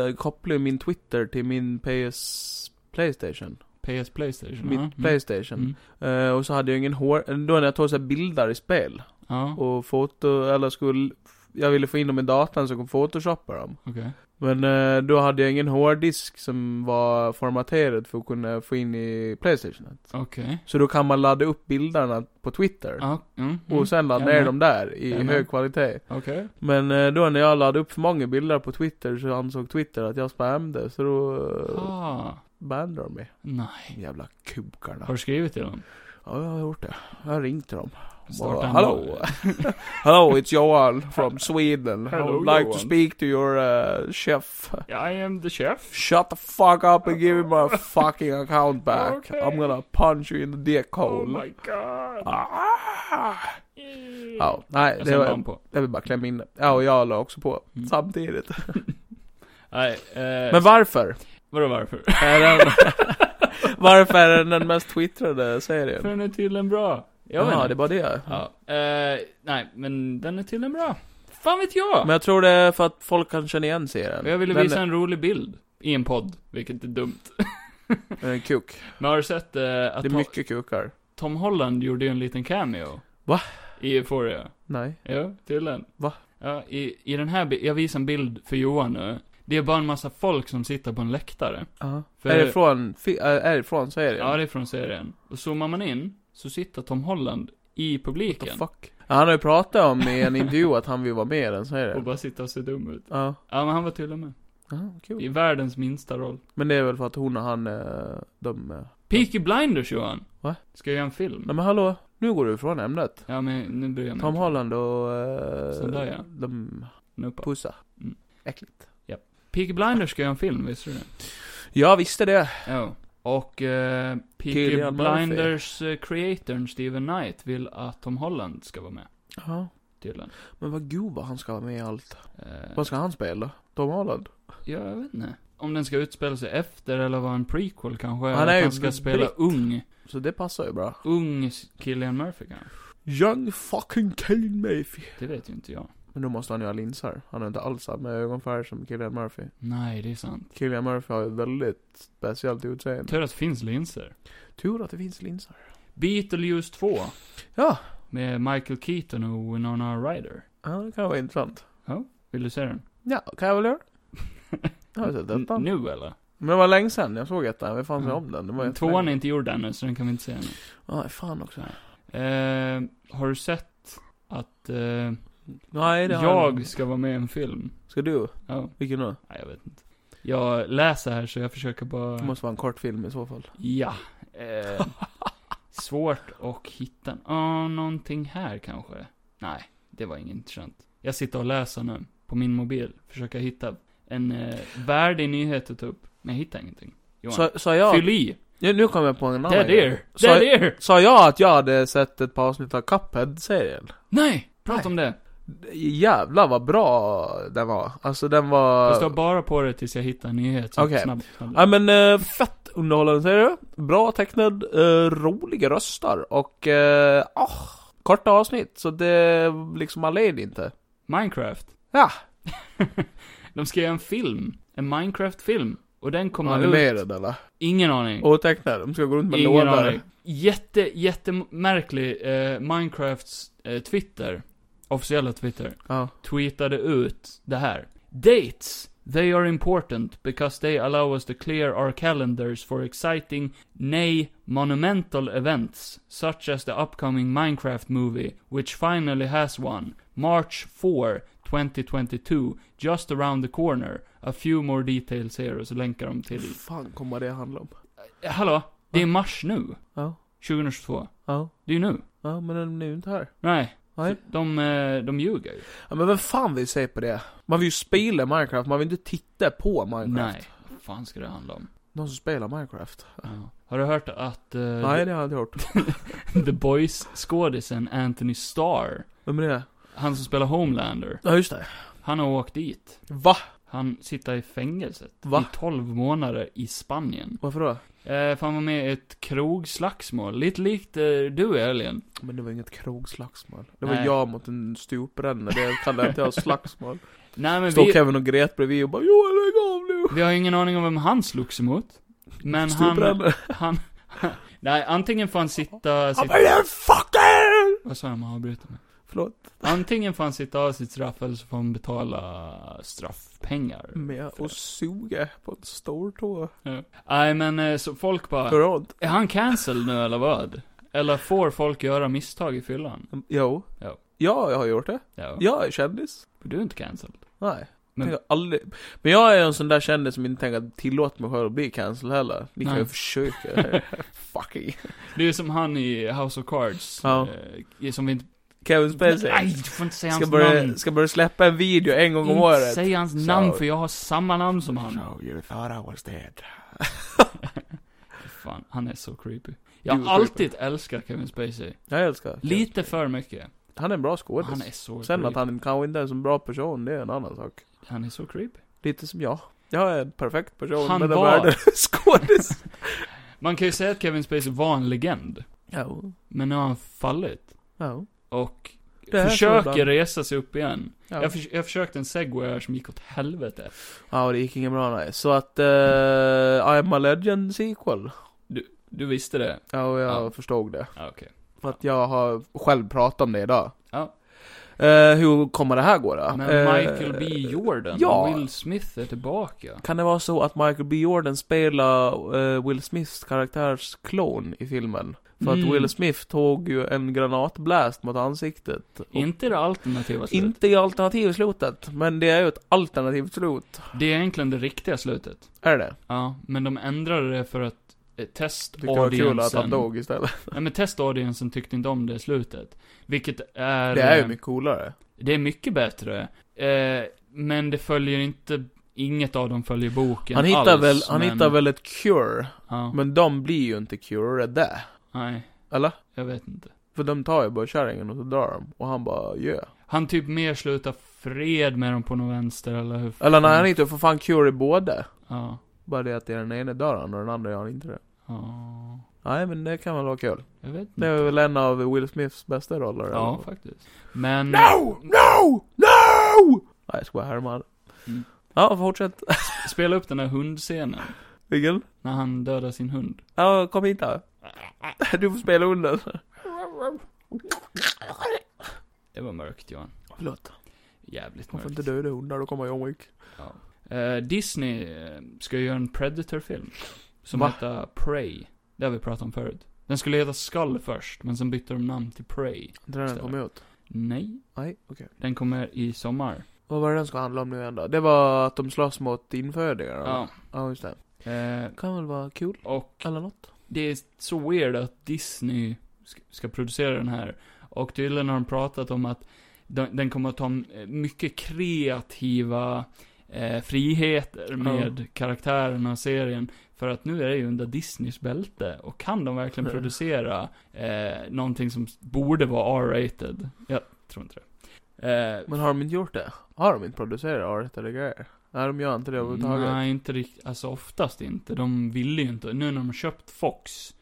eh, kopplar ju min Twitter till min PS... Playstation. PS Playstation. Mitt ja. Mm. Playstation. Mm. Eh, och så hade jag ingen hår... Då när jag tog så här bilder i spel Ja, och foto, eller skulle... Jag ville få in dem i datan så jag kunde photoshoppa dem. okej. Men eh, då hade jag ingen hårddisk som var formaterad för att kunna få in i Playstation. Okej. Så då kan man ladda upp bilderna på Twitter. Ja, mm, mm. Och sen ladda Jag ner med. dem där i Jag med. hög kvalitet. Okej. Men eh, då när jag laddade upp för många bilder på Twitter så ansåg Twitter att jag spammade. Så då uh, Ah, bannade de mig. nej. Jävla kukarna. Har du skrivit till dem? Ja, jag har gjort det. Jag har ringt till dem. Starta Bara, en Hello. dag. Hello, it's Johan from Sweden. I Hello, would like to Johan." speak to your uh, chef. I am the chef. Shut the fuck up and give me my fucking account back. Okay. I'm gonna punch you in the dick Oh hole. my god. ah. Ja, nej, Och det sen var var, han på. jag vill bara klämma in det. Ja, och jag la också på Mm. samtidigt. Nej, eh, Men varför? vadå varför? Är den, varför är den den mest twittrade För serien? den är tydligen bra. Jag vet Ja, inte. det var det. Ja. Eh, nej, men den är tydligen bra. Fan vet jag! Men jag tror det är för att folk kan känna igen serien. Och jag ville Den- visa en rolig bild. I en podd, vilket är dumt. eh, kuk. Men har du sett eh, att Det är Tom, mycket kukar. Tom Holland gjorde ju en liten cameo? Va? I Euphoria. Nej. Ja, tydligen. Va? Ja, i, i den här bi- jag visar en bild för Johan nu. Det är bara en massa folk som sitter på en läktare. Ja. För- Är det från, fi- äh, är det från serien? Ja, det är från serien. Och zoomar man in, så sitter Tom Holland i What the publiken. fuck? Ja, Han har ju pratat om i en intervju att han vill vara med i den Och serien. bara sitter och ser dum ut. Ja. Ja, men han var tydligen med. Aha, I kul. världens minsta roll. Men det är väl för att hon och han, eh, de... eh, Peaky Blinders Johan. Va? Ska jag göra en film? Nej men hallå, nu går du ifrån ämnet. Ja men nu bryr jag mig Tom inte. Holland och... eh, Sån där, ja. De Nu på. pussar. Mm. Äckligt. Peaky Blinders ska göra en film, visste du det? Jag visste det. Ja. Och eh, Peaky Cillian Murphy. Blinders eh, creatorn Steven Knight vill att Tom Holland ska vara med. Ja. Tydligen. Men vad god vad han ska vara med i allt. Eh, Vad ska han spela? Tom Holland? ja, jag vet inte. Om den ska utspela sig efter eller vara en prequel kanske. Han Han, är att ju han ska britt. spela ung. Så det passar ju bra. Ung Killian Murphy kanske. Young fucking Kane Mayfield. Det vet ju inte jag. Men då måste han ju ha linser. Han har inte alls samma ögonfärg som Killian Murphy. Nej, det är sant. Killian Murphy har ju väldigt speciellt utseende. Tur att det finns linser. Tur att det finns linser. Beetlejuice 2. Ja. Med Michael Keaton och Winona Ryder. Ja, det kan vara intressant. Vill du se den? Ja, kan jag väl göra. Jag har sett N- ettan. Nu eller? Men det var länge sedan jag såg ettan, vi fan se Ja. om den. Det var Mm. Tvåan är jättelänge. inte gjord ännu, så den kan vi inte se ännu. Nej, fan också. Eh, har du sett att eh, Nej, det har jag ska vara med i en film? Ska du? Ja, Vilken då? nej, jag vet inte. Jag läser här så jag försöker bara... Det måste vara en kort film i så fall. Ja. Eh, svårt att hitta... Ja, någonting här kanske. Nej, det var inget intressant. Jag sitter och läser nu, på min mobil. Försöker hitta en eh, värdig nyhet att ta upp. Men jag hittar ingenting. Johan, Sa, sa jag... fyll i! Ja, nu kom jag på en annan Dead grej. ear! Så- Dead ear! Sa jag att jag hade sett ett par avsnitt av Cuphead-serien? Nej! Prata Nej. om det. Jävlar vad bra den var. Alltså den var... Jag står bara på det tills jag hittar en nyhet. så Okej. Snabbt, snabbt. Ja men eh, fett underhållande serie. Bra tecknad, eh, roliga röster och... eh, ah, korta avsnitt, så det liksom man led inte. Minecraft. Ja. De ska göra en film. En Minecraft-film. Och den kommer ut. Animerad eller? Ingen aning. Otecknad? De ska gå runt med Ingen lådor? aning. Jätte, jättemärklig eh, Minecrafts eh, Twitter, officiella Twitter, Ja. tweetade ut det här. Dates! They are important because they allow us to clear our calendars for exciting, nay, monumental events, such as the upcoming Minecraft movie, which finally has one, March 4, 2022, just around the corner. A few more details here, och så länkar de till... fan kommer det handla om? Hallå? Det är mars nu. Ja. 2022. Ja. Det är ju nu. Ja, men den är ju inte här. Nej. Nej. De, eh, de ljuger ju. Ja, men vem fan vill se på det? Man vill ju spela Minecraft, man vill inte titta på Minecraft. Nej. Vad fan ska det handla om? Någon som spelar Minecraft? Ja. Har du hört att eh, Nej, det har jag inte hört. The Boys-skådisen Anthony Starr, Vem är det? han som spelar Homelander, Ja, just det. han har åkt dit. Va? Han sitter i fängelset. Va? I 12 månader i Spanien. Varför då? Eh, för han var med i ett krogslagsmål. Lite likt eh, du, Elin. Men det var inget krogslagsmål. Det var Nej. jag mot en stupbränna, det kallar inte jag slagsmål. Nej men Står vi, Kevin och Gret bredvid och bara 'Johan lägg av nu' vi har ju ingen aning om vem han slogs emot. Men han, Stupbränna. han, nej antingen får han sitta, Han sitta bara 'You fucker!' vad sa jag om att avbryta mig? Förlåt. Antingen får han sitta av sitt straff eller så får han betala straffpengar. Med För- att suga på en stor tå. Nej men eh, så folk Hur bara, ont? är han cancelled nu eller vad? Eller får folk göra misstag i fyllan? Jo. Ja. Ja, jag har gjort det. Ja. Jag är kändis. Du är inte cancelled. Nej. Men- Men, jag aldrig... men jag är en sån där kändis som inte tänker att tillåta mig själv att bli cancel heller. Ni kan Nej. ju försöka. Fucking. Det är som han i House of Cards. Ja. Eh, som vi inte... Kevin Spacey. Nej, du får inte säga Ska hans namn. börja, ska börja släppa en video en gång om året. Inte säga hans Så- namn för jag har samma namn som han. So you thought I was dead. Fan, han är så creepy. Du Jag är har alltid älskat Kevin Spacey. Jag älskar Kevin Lite Spacey. för mycket. Han är en bra skådis. Han är så Sen att creepy. han kanske inte är en så bra person, det är en annan sak. Han är så creepy. Lite som jag. Jag är en perfekt person, Han men den var- världen är skådis. Man kan ju säga att Kevin Spacey var en legend. ja, Men nu har han fallit. ja. Och Det är så försöker ibland. resa sig upp igen. Ja. Jag, förs- jag försökte en segway här som gick åt helvete. Ja, det gick inget bra nej. Så att, eh, I am a legend sequel. Du visste det? Ja, och jag Ja. förstod det. Ja, okej. För att jag har själv pratat om det idag. Ja. Eh, hur kommer det här gå då? Men Eh, Michael B Jordan ja. och Will Smith är tillbaka. Kan det vara så att Michael B Jordan spelar eh, Will Smiths karaktärs klon i filmen? För Mm. att Will Smith tog ju en granatblast mot ansiktet. Och Inte det alternativa slutet. inte i alternativslutet, men det är ju ett alternativt slut. Det är egentligen det riktiga slutet. Är det? Ja, men de ändrade det för att eh, Det kan vara kul att testaudiensen... han dog istället. Nej men testaudiensen tyckte inte om det slutet. Vilket är... Det är ju eh, mycket coolare. Det är mycket bättre. Eh, men det följer inte, inget av dem följer boken Han hittar, alls, väl, han men, hittar väl ett cure, Ja, men de blir ju inte curade. nej, Eller? jag vet inte. För de tar ju bara kärringen och så drar de. Och han bara yeah. Han typ mer slutar fred med dem på någon vänster eller hur Eller nej, han hittar ju för fan cure i båda. Ja, Bara det att det är den ene dör han och den andra gör han inte det. ja, Nej men det kan väl vara kul. jag vet inte. Det är väl en av Will Smiths bästa roller? ja, faktiskt. Men... No! No! No! Nej jag skojar, Herman. Mm. Ja, fortsätt. Spela upp den här hundscenen. Vilken? När han dödar sin hund. Ja, kom hit här. Du får spela hunden. Det var mörkt Johan. Förlåt. Jävligt Man mörkt. får inte döda hundar, då kommer John Wick. Ja. Eh, Disney eh, ska ju göra en Predator-film. Som Va? heter Prey. Det har vi pratat om förut. Den skulle heta Skull först, men sen bytte de namn till Prey. Inte när den Stämmer. kom ut. Nej, Nej, okej. den kommer i sommar. Vad var det den ska handla om nu igen då? Det var att de slåss mot infödingar? eller? Ja. Ja, just det. Eh, Kan väl vara kul, och eller nåt. det är så weird att Disney ska, ska producera den här. Och tydligen har de pratat om att den, den kommer att ta eh, mycket kreativa eh, friheter med karaktärerna och serien. För att nu är det ju under Disneys bälte. Och kan de verkligen Mm. producera eh, någonting som borde vara R-rated? Jag tror inte det. Eh, Men har de inte gjort det? Har de inte producerat året eller grejer? Nej, de gör inte det överhuvudtaget. Nej, inte riktigt. Alltså oftast inte. De ville ju inte. Nu när de har köpt Fox.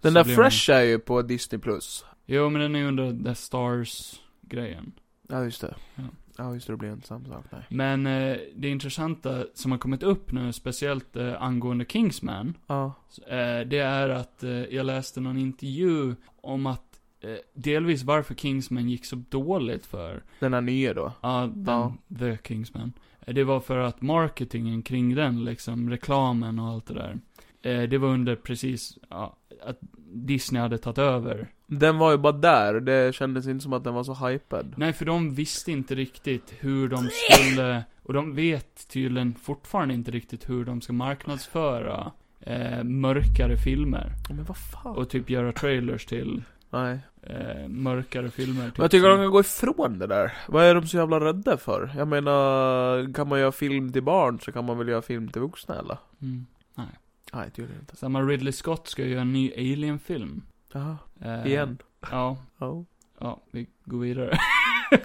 Den så där blir Fresh är ju på Disney+. Plus. Man... Jo, men den är ju under The Stars-grejen. Ja, just det. Ja. Ja, just det, det blir inte samma sak, nej. Men eh, det intressanta som har kommit upp nu, speciellt eh, angående Kingsman, Ja. eh, det är att eh, jag läste någon intervju om att eh, delvis varför Kingsman gick så dåligt för Den här nya då? Ja, den, Ja. The Kingsman. Eh, Det var för att marketingen kring den, liksom reklamen och allt det där. eh, Det var under precis, ja, att Disney hade tagit över. Den var ju bara där, det kändes inte som att den var så hypad. Nej, för de visste inte riktigt hur de skulle, och de vet tydligen fortfarande inte riktigt hur de ska marknadsföra eh, mörkare filmer. Ja, Men vad fan? Och typ göra trailers till Nej. eh, mörkare filmer. Typ Men jag tycker de som- kan gå ifrån det där. Vad är de så jävla rädda för? Jag menar, kan man göra film till barn så kan man väl göra film till vuxna eller? Mm. Nej, tydligen inte. Samma Ridley Scott ska göra en ny Alien-film. Jaha, Eh, igen. Ja, Ja. Ja, vi går vidare.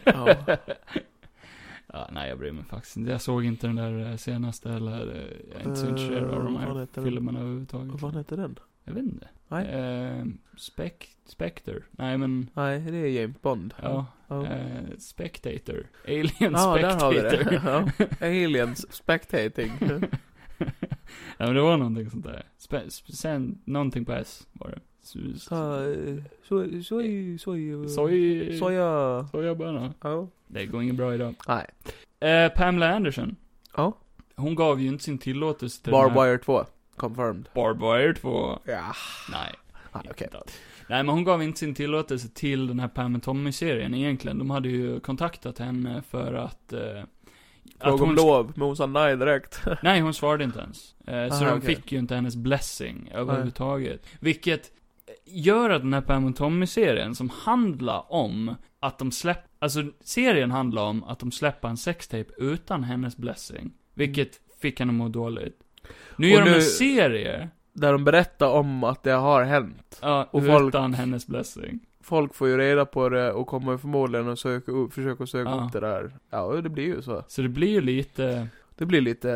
Ja. ja, nej, jag bryr mig faktiskt inte. Jag såg inte den där eh, senaste eller eh, jag är inte så Eh, intresserad av de vad här heter den? filmerna överhuvudtaget. Vad heter den? Jag vet inte. Nej. Eh, Spec- Spectre. Nej, men... Nej, det är James Bond. Ja. Ja. Eh, spectator. Alien Ja, där har vi Spectator. det. Ja. Aliens spectating. ja, men det var någonting sånt där. Spe- sp- sen, någonting på S var det. S- Så, eh, så, så, så, Soj... Soja. Sojabönor. Ja. Det går inget bra idag. Nej. Eh, Pamela Anderson. Ja. Hon gav ju inte sin tillåtelse till den här- Barbwire 2. Confirmed. Barbed Wire 2. Ja. Nej. Nej, okej. inte alls. Nej, men hon gav inte sin tillåtelse till den här Pam and Tommy-serien egentligen. De hade ju kontaktat henne för att... Eh, Fråga om hon, lov, men hon sa nej direkt. nej, hon svarade inte ens. Eh, så Aha, de okej. fick ju inte hennes blessing överhuvudtaget. Vilket gör att den här Pam and Tommy-serien, som handlar om att de släpp... Alltså, serien handlar om att de släpper en sextape utan hennes blessing. Vilket fick henne att må dåligt. Nu Och gör de nu- en serie. Där de berättar om att det har hänt. Ja, Och utan folk- hennes blessing. Folk får ju reda på det och kommer förmodligen att söka upp, försöka söka Ja. upp det där. Ja, det blir ju så. Så det blir ju lite, Det blir lite...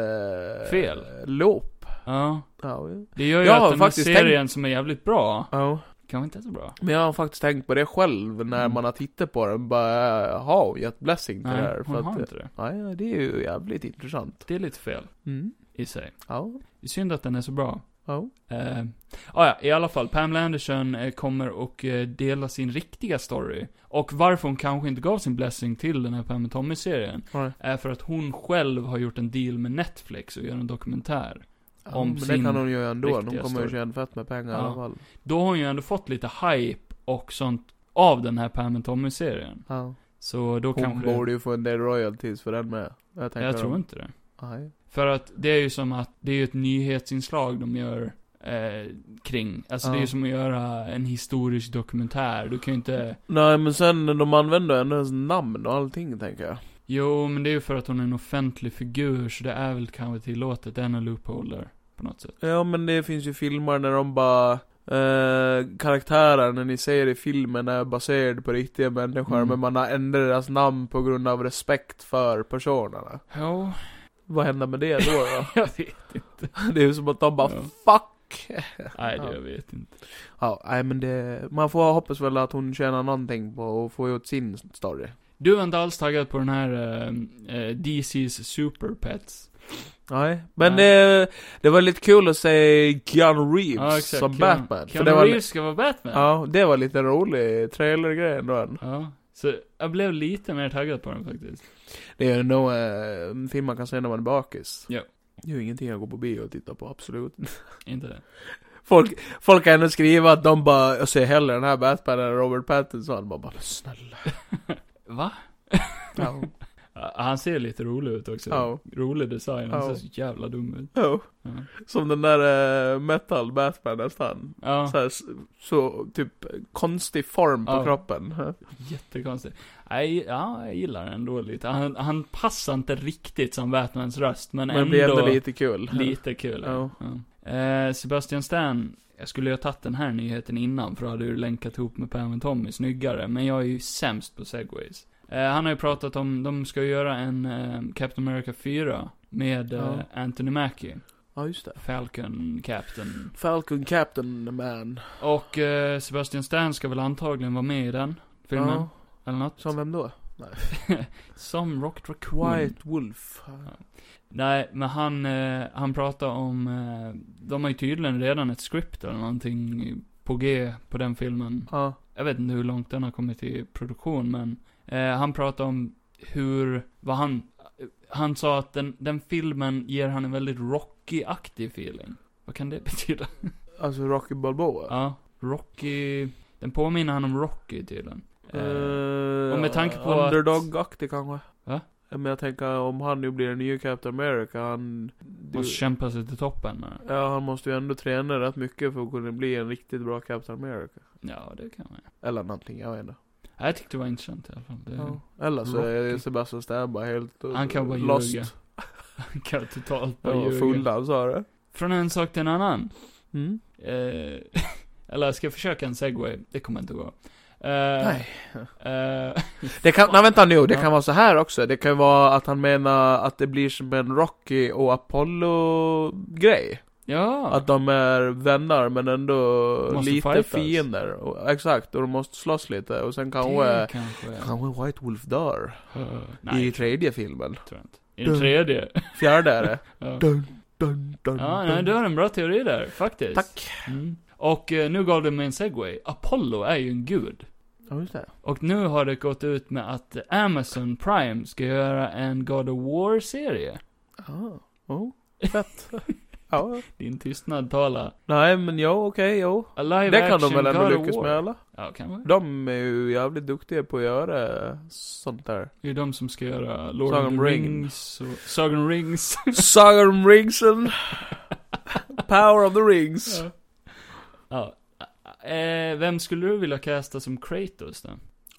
eh, Fel. Loop. ja. Ja, ja. Det gör ju Jag har att den här faktiskt serien som är jävligt bra, ja. kanske inte är så bra. Men jag har faktiskt tänkt på det själv när Mm. man har tittat på den. Bara, eh, har hon gett blessing till Nej, det här? hon har att, eh, inte det. nej, ja, det är ju jävligt intressant. Det är lite fel, Mm. i sig. Ja. Det är synd att den är så bra. Ja. Eh, ah, ja, i alla fall. Pamela Anderson eh, kommer och eh, dela sin riktiga story. Och varför hon kanske inte gav sin blessing till den här Pam Tommy-serien, Nej. är för att hon själv har gjort en deal med Netflix och gör en dokumentär. Ja, Om men det sin kan hon ju göra ändå. Hon riktiga kommer ju story. tjäna fett med pengar i Ja. alla fall. Då har hon ju ändå fått lite hype och sånt av den här Pam Tommy-serien. Ja. Så då Hon kanske... borde ju få en del royalties för den med. Jag, tänker jag tror om- inte det. Nej. För att det är ju som att, det är ju ett nyhetsinslag de gör eh, kring. Alltså det är Ja. ju som att göra en historisk dokumentär. Du kan ju inte... Nej men sen, de använder ändå hennes namn och allting tänker jag. Jo, men det är ju för att hon är en offentlig figur, så det är väl kanske tillåtet. Det är en loophole där, på något sätt. Ja men det finns ju filmer när de bara eh, karaktären ni ser i filmen är baserad på riktiga människor Mm. men man har ändrat deras namn på grund av respekt för personerna. Ja, Vad händer med det då? då? jag vet. det är ju som att de bara Ja. fuck! Nej, det Ja. jag vet inte. Ja, nej men det, man får hoppas väl att hon tjänar någonting på att få ut sin story. Du är inte alls taggad på den här eh, eh, DC's Super Pets? Nej, men Nej. Det, det var lite kul att se Keanu Reeves Ja, exakt. som Keanu- Batman. Keanu det var, li- Reeves ska vara Batman? Ja, det var lite rolig trailergrej ändå. än. Ja. Så jag blev lite mer taggad på den faktiskt. Det är ju nog eh, en film man kan se när man är bakis. Ja. Det är ju ingenting jag går på bio och tittar på, absolut. Inte det? Folk, folk kan ändå skriva att de bara, jag ser hellre den här Batman än Robert Pattinson. Man bara, men snälla. Va? Ja, Ja, Han ser lite rolig ut också. ja, Rolig design, han Ja. ser så jävla dum ut. ja. Ja. Som den där eh, metal Batman nästan. Ja, Så, här, s- så typ konstig form på Ja. kroppen. jättekonstigt. Nej, ja, jag gillar den ändå lite. Han, han passar inte riktigt som Batmans röst, men, Men, ändå, det blir ändå lite kul. lite kul. Ja. Ja. Eh, Sebastian Stan, jag skulle ju ha tagit den här nyheten innan, för då hade du länkat ihop med Pam och Tommy snyggare, men jag är ju sämst på segways. Eh, han har ju pratat om, de ska göra en eh, Captain America 4 med eh, Ja. Anthony Mackie, Ja, just det. Falcon Captain. Falcon Captain Man. Och eh, Sebastian Stan ska väl antagligen vara med i den filmen? Ja, Eller något? som vem då? Som Rocket Raccoon. White Wolf. Mm. Nej, men han, eh, han pratar om, eh, de har ju tydligen redan ett script eller någonting på G på den filmen. Ja. Jag vet inte hur långt den har kommit i produktion, men eh, han pratar om hur, vad han, han sa att den, den filmen ger han en väldigt rocky-aktig feeling. Vad kan det betyda? Alltså Rocky Balboa. Ja, Rocky, den påminner han om Rocky tydligen. Eh, Eh, och med tanke på att- Underdog-aktig kanske. Va? Eh, Men jag tänker om han nu blir en ny Captain America, han... du- måste kämpa sig till toppen med det. ja, han måste ju ändå träna rätt mycket för att kunna bli en riktigt bra Captain America. Ja, det kan man ju. Eller någonting, jag vet inte. Nej, Jag tyckte det var intressant i alla fall. Det, Ja. Eller så är Rocky. Sebastian Stan bara helt eh, Han kan bara lost. ljuga. kan jag totalt Han bara var ljuga. full han sa det. Från en sak till en annan. Mm. Eh, eller ska jag försöka en segway? Det kommer inte att gå. Eh, Nej. eh, Det kan, nej vänta nu, det Ja. kan vara så här också. Det kan vara att han menar att det blir som en Rocky och Apollo-grej. ja. Att de är vänner men ändå Måste lite fightas. fiender. Och, exakt, och de måste slåss lite. Och sen det kanske, kanske. kanske White Wolf dör. Eh, nej, eh, I tredje filmen. tror jag inte. I den tredje. Fjärde är det. ja, Dun, dun, dun, ja dun. nej, du har en bra teori där, faktiskt. Tack. Mm. Och eh, nu gav du mig en segway. Apollo är ju en gud. Ja, just det. Och nu har det gått ut med att Amazon Prime ska göra en God of War-serie. Ah, oh, fett. ja. Din tystnad talar. Nej men jo, okej, jo. A live Det kan action de väl ändå God of lyckas War. med eller? Ja, kanske. De är ju jävligt duktiga på att göra sånt där. Det är de som ska göra Lord Sagan of the om ringen. Rings och Sagan om Rings. Sagan om ringsen. Power of the rings. ja. Eh, vem skulle du vilja casta som Kratos då?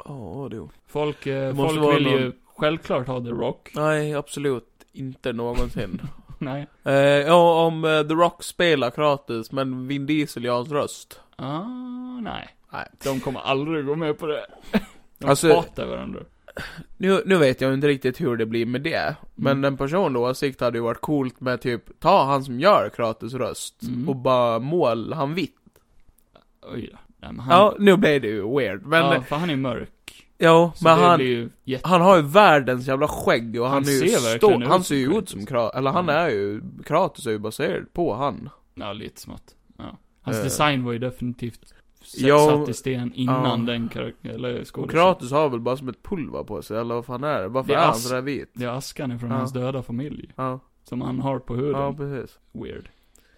Ja, du. Folk, eh, Det måste folk vara vill ju någon- självklart ha The Rock. Nej, absolut inte någonsin. Nej. eh, ja, om eh, The Rock spelar Kratos, men Vin Diesel gör hans röst. Ah, nej. Nej. De kommer aldrig gå med på det. De Alltså- hatar varandra. Nu, nu vet jag inte riktigt hur det blir med det, men Mm. en personlig åsikt hade ju varit coolt med typ, ta han som gör Kratos röst Mm. och bara mål han vitt. Oj då. Nej, men han, Ja, nu blev det ju weird, men, ja, för han är mörk. ja, Så men det han, blir ju jätte... han har ju världens jävla skägg och han, Han är ju ser verkligen stor, ut han som ser ju ut Kratos. som Kratos, eller han Mm. är ju, Kratos är ju baserad på han. Ja, lite smått. Ja. Hans Eh. design var ju definitivt s- Ja, satt i sten innan ja. den karaktär, eller Och skådespelaren. Kratos har väl bara som ett pulver på sig, eller vad fan är det? Varför Det är är han ask. sådär vit? Det är askan ifrån Ja. hans döda familj. Ja, Som han har på ja huden. precis. Weird.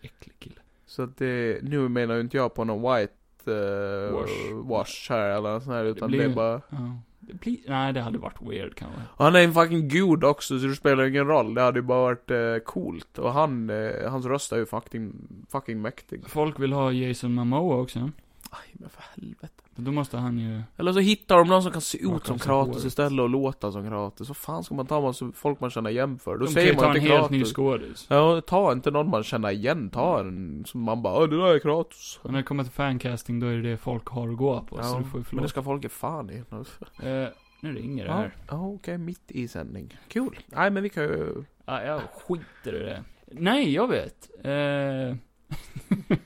Äcklig kille. Så att det, nu menar ju inte jag på någon white eh, Wash. wash här eller sån här, utan blir det är ju- bara Ja. Det blir, nej det hade varit weird kanske. Och Han är en fucking gud också, så det spelar ju ingen roll. Det hade ju bara varit eh, coolt. Och han, eh, hans röst är ju fucking, fucking mäktig. Folk vill ha Jason Momoa också. Aj, men för helvete. Men Då måste han ju... Eller så hittar de någon som kan se Man ut kan som se Kratos håret. istället och låta som Kratos. Vad fan ska man ta man så folk man känner igen för? Då de kan ju säger ta man en inte helt ny Kratos. skådis. Ja, ta inte någon man känner igen. Ta en som man bara, "Åh, det där är Kratos. Och när det kommer till fancasting då är det det folk har att gå på. Så Ja, du får ju Men det förlåta. ska folk ge fan i. Eh, nu ringer det Ja, här. ja, okej, mitt i sändning. Kul. Nej, men vi kan ju... Ah, jag skiter i det. Nej, jag vet. Eh...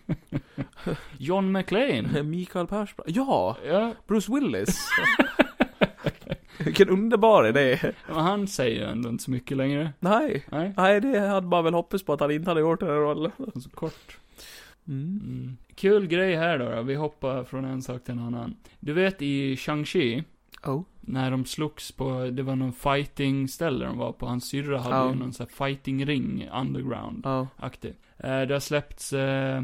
John McLean. Mikael Persbrandt. Ja! Ja, Bruce Willis. Vilken underbar idé. men han säger ju ändå inte så mycket längre. Nej. Nej, Nej, det hade man väl hoppats på att han inte hade gjort den här rollen. så kort. Mm. Mm. Kul grej här då, då, vi hoppar från en sak till en annan. Du vet i Shang-Chi, Oh. när de slogs på, det var någon fighting-ställe de var på, hans syrra hade Ja. ju någon sån här fighting-ring, underground, Ja. aktiv. Eh, det har släppts, eh,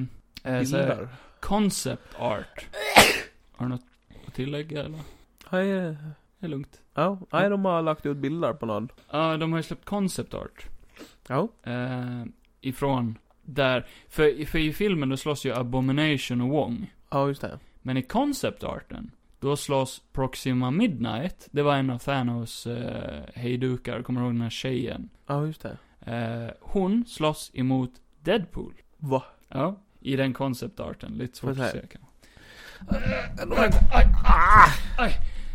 eh, så här, Bilder. concept art. har du något att tillägga eller? Nej, eh, Det är lugnt. ja. Nej, de har lagt ut bilder på någon. Ja, de har ju släppt concept art. Ja. Eh, ifrån, där, för, för i filmen då slåss ju Abomination och Wong. Ja, just det. Men i concept-arten, då slåss Proxima Midnight. Det var en av Thanos eh, hejdukar, kommer du ihåg den här tjejen? Ja, just det. Eh, hon slåss emot Deadpool. Va? Ja, i den concept-arten. Lite svårt Får jag att se? se kanske. Aj, aj.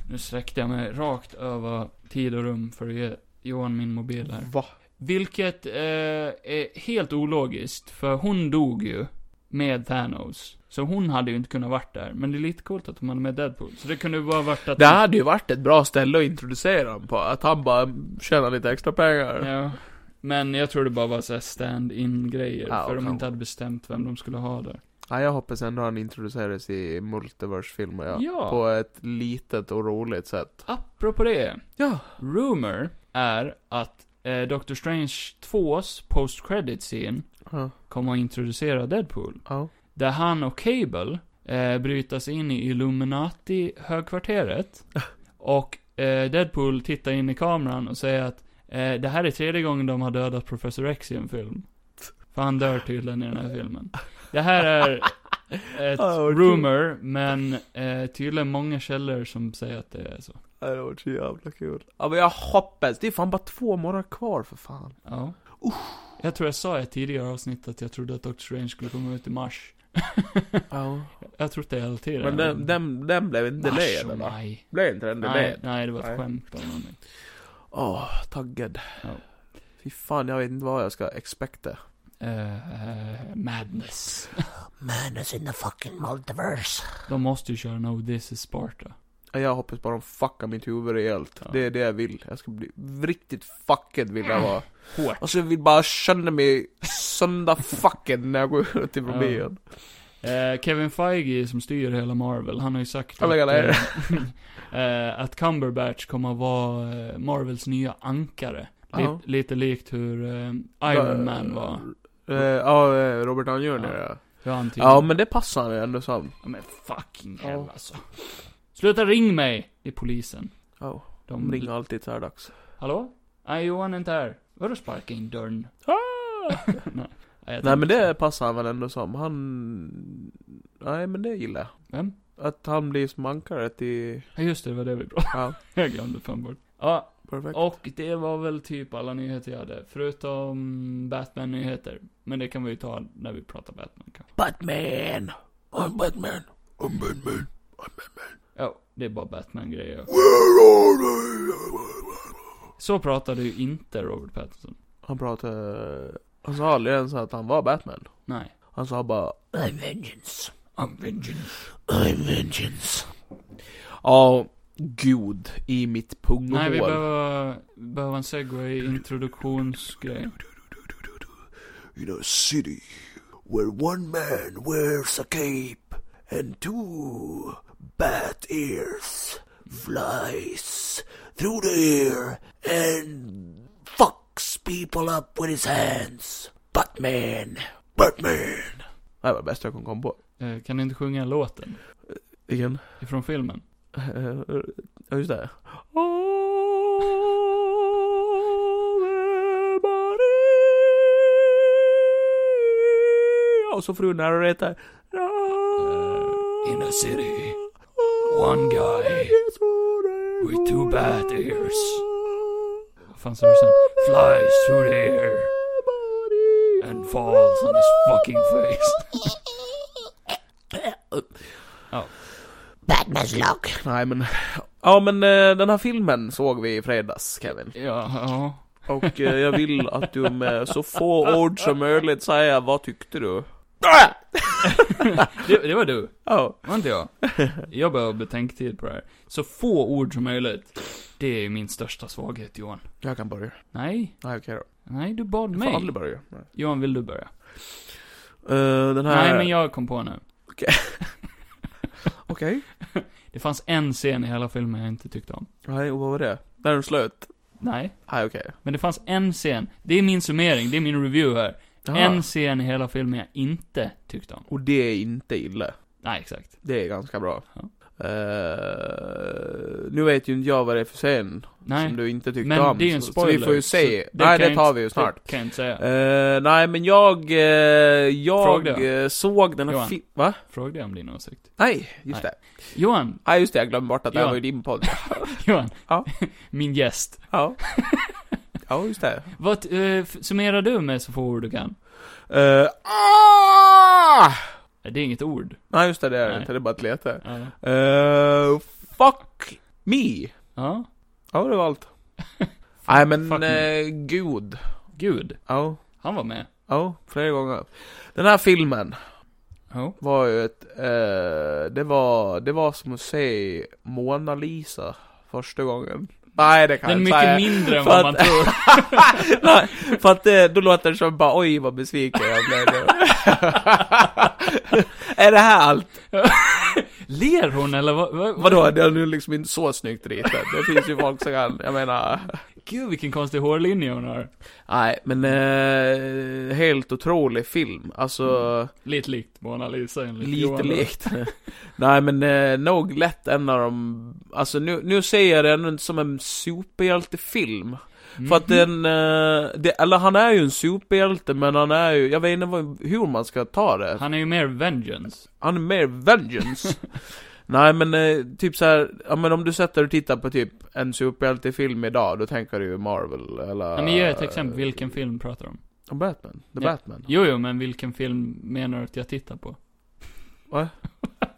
Nu sträckte jag mig rakt över tid och rum för att ge Johan min mobil här. Va? Vilket eh, är helt ologiskt, för hon dog ju med Thanos. Så hon hade ju inte kunnat varit där, men det är lite coolt att hon hade med Deadpool. Så det kunde ju bara varit att... Det hade ju varit ett bra ställe att introducera honom på, att han bara tjänar lite extra pengar. Ja. Men jag tror det bara var såhär stand-in grejer, Ja, för de kanske. inte hade bestämt vem de skulle ha där. Ja, jag hoppas ändå han introduceras i multiverse-filmer, ja. Ja. På ett litet och roligt sätt. Apropå det, Ja. rumor är att eh, Doctor Strange 2s post credit scene Ja. kommer att introducera Deadpool. ja. Där han och Cable eh, bryter sig in i Illuminati-högkvarteret. Och eh, Deadpool tittar in i kameran och säger att eh, det här är tredje gången de har dödat Professor X i en film. För han dör tydligen i den här filmen. Det här är ett Ja, vad kul. rumor, men eh, tydligen många källor som säger att det är så. Det hade varit så jävla kul. Ja men jag hoppas, det är fan bara två månader kvar för fan. Ja. Jag tror jag sa i ett tidigare avsnitt att jag trodde att Doctor Strange skulle komma ut i mars. Ja. Jag tror det är alltid det. Men den, den, den blev inte Mars delayed och eller? maj. Blev inte den Nej, delayed? nej, det var ett Nej. skämt eller någonting. Åh, taggad. Ja. Fy fan, jag vet inte vad jag ska expecta. Eh, madness. Madness in the fucking multiverse. De måste ju köra No This is Sparta. Jag hoppas bara de fuckar mitt huvud rejält. Ja. Det är det jag vill. Jag ska bli riktigt fucked vill jag vara. Hårt. Alltså jag vill bara känna mig sönderfucked när jag går ut i bilen. Eh, Kevin Feige som styr hela Marvel, han har ju sagt Ja, men jag att, eh, att Cumberbatch kommer att vara eh, Marvels nya ankare. Li- Ja. Lite likt hur eh, Iron Man var. Eh, Ja, eh, Robert Downey Jr. Ja. Ja. Hur han tyckte. ja, men det passar han ju ändå som. Ja, men fucking Ja. hell alltså. Sluta ring mig! Det är polisen. Ja, De, de ringer alltid så här dags. Hallå? Nej, Johan är inte här. Vadå sparka in dörren? nej, jag Nej men tänkte- det passar han väl ändå som. Han... Nej men det gillar Vem? jag. Att han blir som ankaret i... Ja, just det, det var det vi pratade Ja, Jag glömde fan bort. Ja, perfekt. och det var väl typ alla nyheter jag hade, förutom Batman-nyheter. Men det kan vi ju ta när vi pratar Batman kanske. Batman! I'm Batman! I'm Batman! Ja, det är bara Batman-grejer. Where are they? Så pratade ju inte Robert Pattinson. Han pratade... Han sa aldrig ens att han var Batman. Nej. Han sa bara... I'm vengeance. I'm vengeance. I'm vengeance. Ja, gud i mitt punghål. Nej, vi behöver, behöver en segway introduktionsgrej. in a city where one man wears a cape and two bat ears flies through the air and fucks people up with his hands. Batman. Batman. Det här var det bästa jag kunde komma på. Eh, Kan du inte sjunga låten? Vilken? Ifrån filmen? Eh, Ja, just det. Och så Eh, frun när hon heter... in a city, one guy with two bad ears. Vad fan sa du sen? Flies through the air and falls on his fucking face. Ja. Batman's luck. Nej men... Ja men eh, den här filmen såg vi i fredags Kevin. Ja, ja. Och eh, jag vill att du med så få ord som möjligt säger vad tyckte du? Ah! Det, det var du. Ja. Var inte jag? Jag behöver betänketid på det här. Så få ord som möjligt. Det är min största svaghet, Johan. Jag kan börja. Nej, Nej okej då. nej, du bad Du får mig. aldrig börja. Nej. Johan, vill du börja? Eh, den här... Nej, men jag kom på nu. Okej. Det fanns en scen i hela filmen jag inte tyckte om. Nej, och vad var det? När den slöt? Nej, Nej okej. men det fanns en scen. Det är min summering, det är min review här. Jaha. En scen i hela filmen jag inte tyckte om. Och det är inte illa. Nej, exakt. Det är ganska bra. Ja. Eh, nu vet ju inte jag vad det är för scen Nej, som du inte tyckte men om. det är ju en så- spoiler. Så vi får ju så se. det kan Nej, det jag tar inte- vi ju snart. det kan jag inte säga. Eh, nej, men jag, eh, jag Fråga. eh, såg den här Johan. filmen... Va? Fråga dig om din åsikt. Nej, just Nej. det. Johan, Nej, just det. Jag glömde bort att det här Johan. var ju din podd. Johan. Ja. Min gäst. ja. ja, just det. Vad eh, f- summerar du med så få ord du kan? Eh, ah! Det är inget ord. Nej, just det. Det är det Nej. inte. Det är bara ett lete. Ja. Eh, fuck me. Ja. Ja, det var allt. Nej men, Fuck me. eh, gud. Gud, Ja, han var med. ja, flera gånger. Den här filmen. Ja. var ju ett, eh, det var, det var som att se Mona Lisa första gången. Nej det kan Den är jag inte säga. mycket mindre än För vad att- man tror. Nej, för att eh, då låter det som bara oj vad besviken jag blev nu. Är det här allt? Ler hon eller vad? vad, Vadå, det är nu liksom inte så snyggt ritat. Det finns ju folk som kan, jag menar. Gud vilken konstig hårlinje hon har. Nej, men eh, helt otrolig film. Alltså, Lite likt Mona Lisa enligt lite Johan. likt. Nej men eh, nog lätt en av de, alltså nu, nu ser jag den inte som en superhjältefilm. Mm. För att den, eh, det, eller han är ju en superhjälte men han är ju, jag vet inte vad, hur man ska ta det. Han är ju mer vengeance. Han är mer vengeance. Nej men eh, typ så här, ja men om du sätter och tittar på typ en superhjältefilm idag, då tänker du ju Marvel eller... Men ge ett exempel, vilken film pratar du om? Om Batman, Ja. The Batman. Jo, jo, men vilken film menar du att jag tittar på? Va?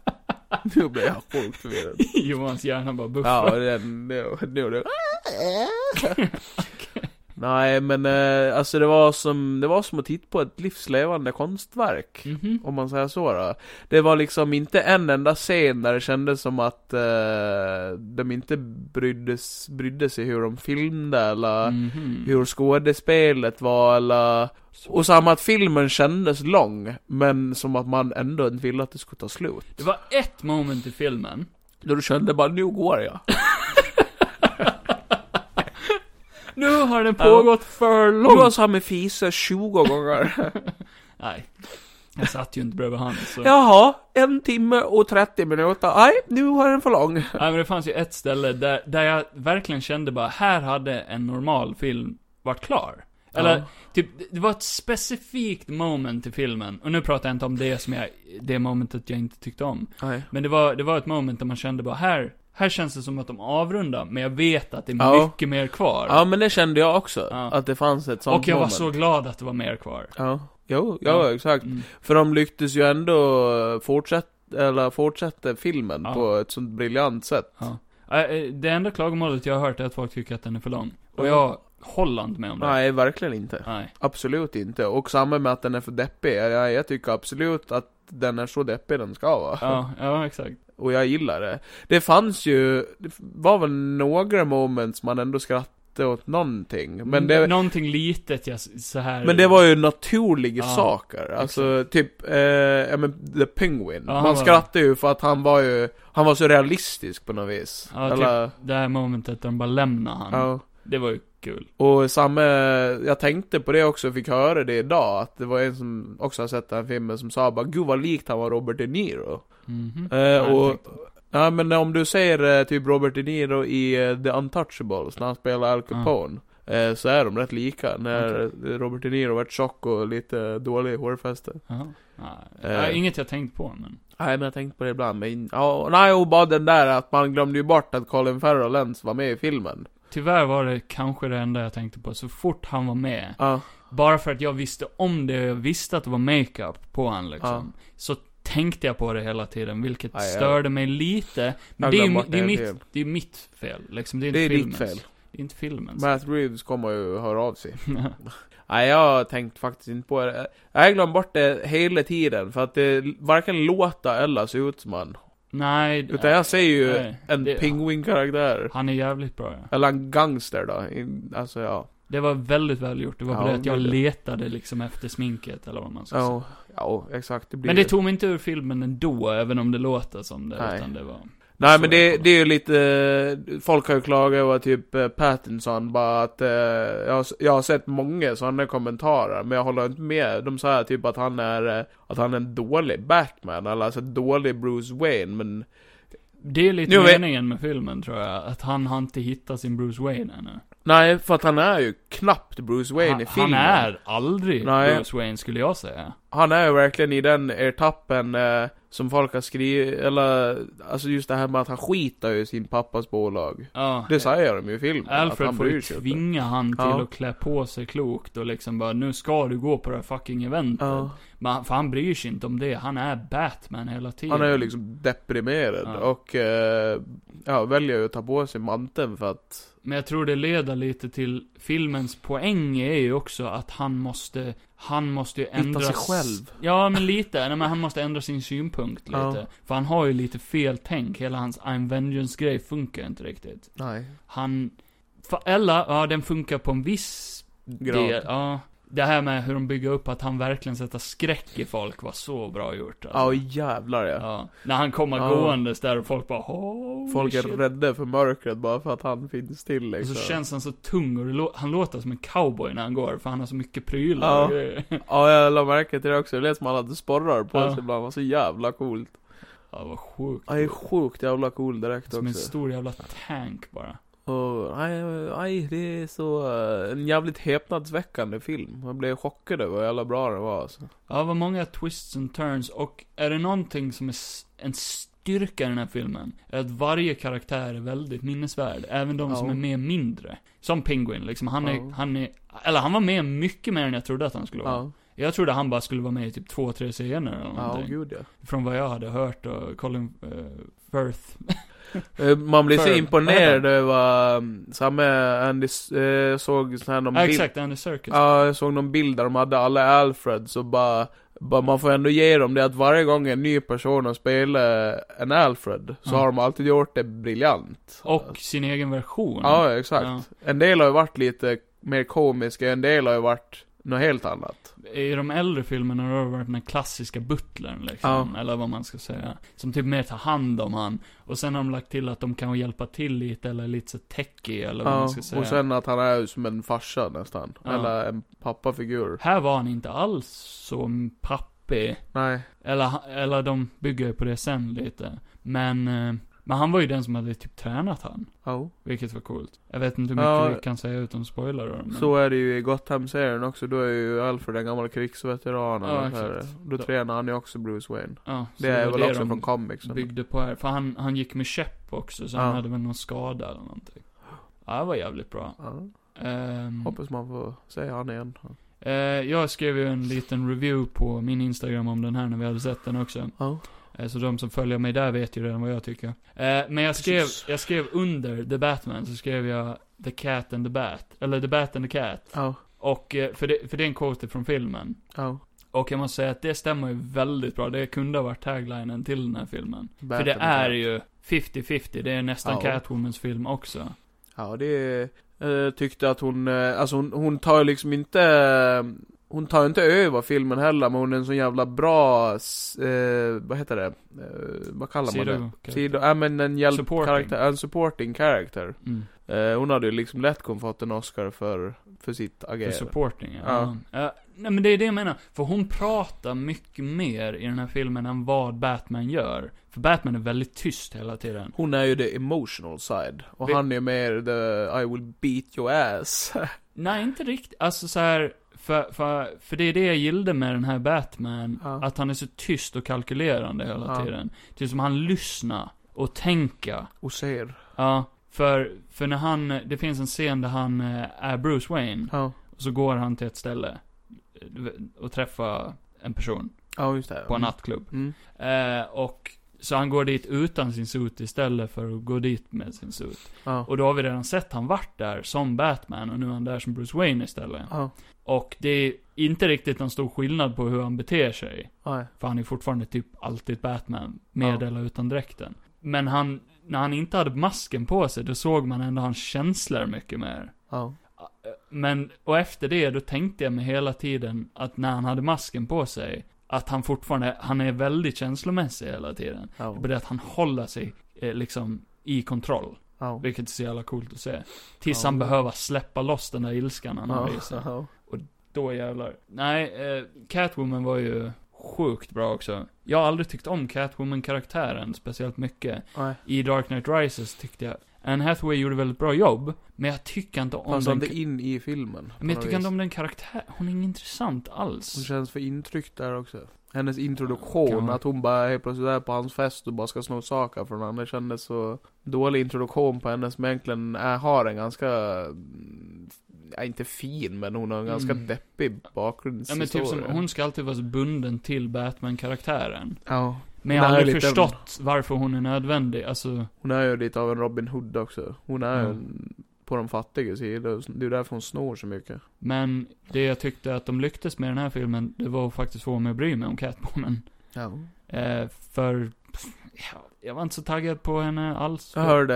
nu blir jag sjukt förvirrad. Johans hjärna bara buffrar. Ja, och den, nu, nu, nu. Nej men eh, alltså det var som, det var som att titta på ett livslevande konstverk. Mhm. Om man säger så då. Det var liksom inte en enda scen där det kändes som att eh, de inte bryddes, brydde sig hur de filmade eller Mhm. hur skådespelet var eller... Och samma att filmen kändes lång, men som att man ändå inte ville att det skulle ta slut. Det var ett moment i filmen. Då du kände bara, nu går jag. Nu har den pågått för Du har långt. samma fisa 20 gånger. Nej. Jag satt ju inte bredvid han, så. Jaha, en timme och 30 minuter. Nej, nu var den för lång. Nej, men det fanns ju ett ställe där, där jag verkligen kände bara, här hade en normal film varit klar. Eller, Ja. typ, det- det var ett specifikt moment i filmen. Och nu pratar jag inte om det som jag, det momentet jag inte tyckte om. Nej. Men det var, det var ett moment där man kände bara, här, här känns det som att de avrundar, men jag vet att det är Ja. mycket mer kvar. Ja, men det kände jag också. Ja. Att det fanns ett sånt och jag var moment. så glad att det var mer kvar. Ja, jo, ja, exakt. Mm. För de lyckades ju ändå fortsätta, eller fortsätta filmen Ja. på ett sånt briljant sätt. Ja. Äh, äh, Det enda klagomålet jag har hört är att folk tycker att den är för lång. Och Ja. jag håller inte med om det. Mm. Nej, verkligen inte. Nej. Absolut inte. Och samma med att den är för deppig. Jag, jag tycker absolut att den är så deppig den ska vara. Ja, ja, exakt. Och jag gillar det. Det fanns ju, det var väl några moments man ändå skrattade åt någonting. Men det, N- Någonting litet jag s- så här. Men det var ju Ja, naturliga saker, alltså typ, eh, ja men The Penguin. Ja, han Man var- skrattade ju för att han var ju, han var så realistisk på något vis. Ja, Eller, typ det här momentet där de bara lämnar han. ja. Det var ju kul. Och samma, jag tänkte på det också, fick höra det idag, att det var en som också har sett den här filmen som sa bara 'Gud vad likt han var Robert De Niro' Mhm. eh, Nej, Och, tänkte ja men om du ser eh, typ Robert De Niro i eh, The Untouchables, när han spelar Al Capone eh, Så är de rätt lika, när Robert De Niro vart tjock och lite dålig i hårfästet Jaha. Nej. Eh. Ja, Inget jag tänkt på, men. Nej men jag tänkte på det ibland, men ja, nej och bara den där att man glömde ju bort att Colin Farrell ens var med i filmen. Tyvärr var det kanske det enda jag tänkte på. Så fort han var med, Ja. bara för att jag visste om det och jag visste att det var makeup på han liksom. Så tänkte jag på det hela tiden, vilket Aj, aj. störde mig lite. Men Jag det är, ju, glömmer mi- bort det, är det mitt, helt. det är mitt fel, liksom. Det är inte Det är ditt filmens. fel. Det är inte filmens. Matt Reeves kommer ju höra av sig. Nej jag har tänkt faktiskt inte på det. Jag glömmer bort det hela tiden för att det varken låter eller ser ut som han. Nej. d- Utan jag ser ju nej, en det- pingvinkaraktär. Han är jävligt bra ja. Eller en gangster då. In- Alltså ja. Det var väldigt välgjort. Det var Ja, bara det att jag det- letade liksom efter sminket eller vad man ska säga. Ja, ja exakt. Det blir Men det tog mig inte ur filmen ändå, även om det låter som det. Nej. Utan det var... Nej Så men är det det, på det är ju lite, eh, folk har ju klagat över typ eh, Pattinson bara att, eh, jag, har, s- jag har sett många sådana kommentarer men jag håller inte med. De säger typ att han är, eh, att han är en dålig Batman eller alltså en dålig Bruce Wayne men Det är lite Nu vet- meningen med filmen tror jag, att han har inte hittat sin Bruce Wayne ännu. Nej för att han är ju knappt Bruce Wayne Han, i han filmen. är aldrig Nej. Bruce Wayne skulle jag säga. Han är ju verkligen i den etappen eh, Som folk har skrivit, eller alltså just det här med att han skitar i sin pappas bolag. Ja. Det säger de ju i filmen. att Alfred han får ju bryr sig inte. tvinga han till Ja. att klä på sig klokt och liksom bara, nu ska du gå på det här fucking eventet. Ja. Men han, för han bryr sig inte om det, han är Batman hela tiden. Han är ju liksom deprimerad Mm. Ja. och eh, ja, väljer ju att ta på sig manteln för att... Men jag tror det leder lite till, filmens poäng är ju också att han måste, han måste ju ändra... sig s- själv. Ja, men lite. Nej, men han måste ändra sin synpunkt lite. Ja. För han har ju lite fel tänk, hela hans I'm Vengeance-grej funkar inte riktigt. Nej. Han, fa- eller, ja den funkar på en viss Grad. del. Ja. Det här med hur de bygger upp att han verkligen sätter skräck i folk var så bra gjort. alltså. Ja, jävlar ja. Ja. När han kommer Ja. gåendes där och folk bara Holy Folk är shit. Alltså, rädda för mörkret bara för att han finns till Och liksom. så känns han så tung och det lå- han låter som en cowboy när han går för han har så mycket prylar Ja. och grejer. Ja, jag la märke till det också. Det lät som han hade sporrar på Ja. sig ibland. Det var så jävla coolt. Ja, vad sjukt. Han är sjukt jävla cool direkt som en också. stor jävla tank bara. Och, nej, nej, det är så... eh, En jävligt häpnadsväckande film. Jag blev chockad över hur jävla bra den var alltså. Ja, vad många twists and turns och är det någonting som är s- en styrka i den här filmen? Är att varje karaktär är väldigt minnesvärd. Även de som Ja. är med mindre. Som Penguin liksom, han är, Ja. han är, eller han var med mycket mer än jag trodde att han skulle vara. Ja, Jag trodde han bara skulle vara med i typ två, tre scener eller ja någonting. gud ja. Från vad jag hade hört och Colin eh, Firth. Eh, Man blir så Firm. imponerad över um, samma Andy, S- eh, såg sån här någon Ja, bild. exakt, Andy Serkis. Ja, jag såg någon bild där de hade alla Alfreds och bara, bara man får ändå ge dem det att varje gång en ny person har spelat en Alfred så Ja. har de alltid gjort det briljant. Och sin egen version. Ja, exakt. En del har ju varit lite mer komiska, en del har ju varit något helt annat. I de äldre filmerna har det varit den här klassiska butlern liksom, eller vad man ska säga. Som typ mer tar hand om han. Och sen har de lagt till att de kan hjälpa till lite, eller lite så techy eller vad Ja, man ska säga. och sen att han är ju som en farsa nästan. Ja. Eller en pappafigur. Här var han inte alls så pappig. Nej. Eller, eller de bygger ju på det sen lite. Men, eh, men han var ju den som hade typ tränat han. Ja. Vilket var coolt. Jag vet inte hur mycket Ja. vi kan säga utan spoiler då, men... Så är det ju i Gotham-serien också, då är ju Alfred en gammal krigsveteran Ja, eller exakt. så här. Då Då- tränar han ju också Bruce Wayne. ja, så Det är var väl också de från comicsen. byggde på här. För han, han gick med käpp också, så Ja. han hade väl någon skada eller någonting. Ja, det var jävligt bra. Ja, Ehm, hoppas man får se han igen. eh, jag skrev ju en liten review på min Instagram om den här när vi hade sett den också. Ja. Eh, så de som följer mig där vet ju redan vad jag tycker. Eh, men jag skrev, Precis. jag skrev under The Batman, så skrev jag The Cat and the Bat. Eller The Bat and the Cat. Ja. Och, eh, för, det, för det är en quote från filmen. Ja. Och jag måste säga att det stämmer ju väldigt bra. Det kunde ha varit taglinen till den här filmen. För det är ju 50-50, det är nästan Ja. Catwomans film också. Ja, det är... eh, tyckte att hon... eh, Alltså hon, hon tar ju liksom inte... eh, Hon tar ju inte över filmen heller, men hon är en så jävla bra... s- Eh, vad heter det? Eh, vad kallar man det? Sido- Sido... Ja, men en Supporting. hjälpkaraktär. En supporting character. Mm. Eh, hon hade ju liksom lätt kunnat fått en Oscar för, för sitt För agerande. supporting, ja. Ja. ja. Nej men det är det jag menar. För hon pratar mycket mer i den här filmen än vad Batman gör. För Batman är väldigt tyst hela tiden. Hon är ju the emotional side. Och Vi- han är mer the I will beat your ass. Nej, inte riktigt. Alltså så här, för, för, för det är det jag gillade med den här Batman. Ja. Att han är så tyst och kalkylerande hela Ja. tiden. Typ som han lyssnar och tänker. och ser. Ja. För, för när han, det finns en scen där han eh, är Bruce Wayne. Ja. Och så går han till ett ställe eh, och träffar en person Ja, just det. på en nattklubb. Mm. Eh, och så han går dit utan sin suit istället för att gå dit med sin suit. Ja. Och då har vi redan sett han vart där som Batman och nu är han där som Bruce Wayne istället. Ja. Och det är inte riktigt någon stor skillnad på hur han beter sig. Nej. För han är fortfarande typ alltid Batman, med Ja. eller utan dräkten. Men han, när han inte hade masken på sig, då såg man ändå hans känslor mycket mer. Ja. Men, och efter det, då tänkte jag mig hela tiden att när han hade masken på sig, att han fortfarande, han är väldigt känslomässig hela tiden. Ja. Det är att han håller sig eh, liksom i kontroll. Ja. Vilket är så jävla coolt att se. Tills Ja. han behöver släppa loss den där ilskan han har i sig. Ja. Då jävlar. Nej, eh, Catwoman var ju sjukt bra också. Jag har aldrig tyckt om Catwoman-karaktären speciellt mycket. Nej. I Dark Knight Rises tyckte jag Anne Hathaway gjorde väldigt bra jobb, men jag tycker inte om Passar den... inte in i filmen. på Men jag något tycker inte vis. om den karaktär. Hon är ingen intressant Hon alls. känns för intryckt där också. hennes introduktion, Kan man- att hon bara helt plötsligt är på hans fest och bara ska sno saker från honom. Det kändes så dålig introduktion på henne som egentligen är, har en ganska, mm, ja, inte fin, men hon har en ganska Mm. deppig Ja, men bakgrundshistoria. typ som, hon ska alltid vara bunden till Batman-karaktären. Ja. Men jag Det har här är aldrig lite- förstått varför hon är nödvändig, alltså. Hon är ju lite av en Robin Hood också. Hon är ju Ja. en- på de fattiga sidan. Det är därför hon snor så mycket. Men det jag tyckte att de lyckades med i den här filmen, det var att faktiskt få mig att bry mig om Catwoman. Ja. Eh, för, ja, jag var inte så taggad på henne alls. Jag hörde,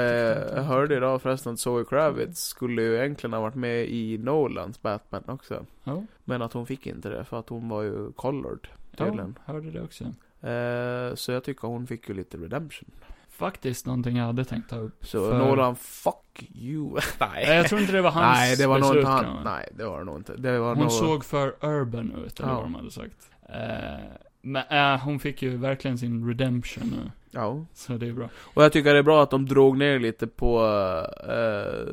jag hörde idag förresten att Zoe Kravitz skulle ju egentligen ha varit med i Nolans Batman också. Ja, Men att hon fick inte det för att hon var ju colored. ja, Tydligen. hörde det också. Eh, så jag tycker hon fick ju lite redemption. Faktiskt någonting jag hade tänkt ta upp. Så För- Nolan, fuck you. nej. Nej, jag tror inte det var hans nej, det var nog beslut, inte kan han. man- Nej, det var det nog inte. Det var Hon nog... såg för urban ut, eller Ja. vad de hade sagt. Eh, men eh, hon fick ju verkligen sin redemption nu, Ja. så det är bra. Och jag tycker det är bra att de drog ner lite på, eh,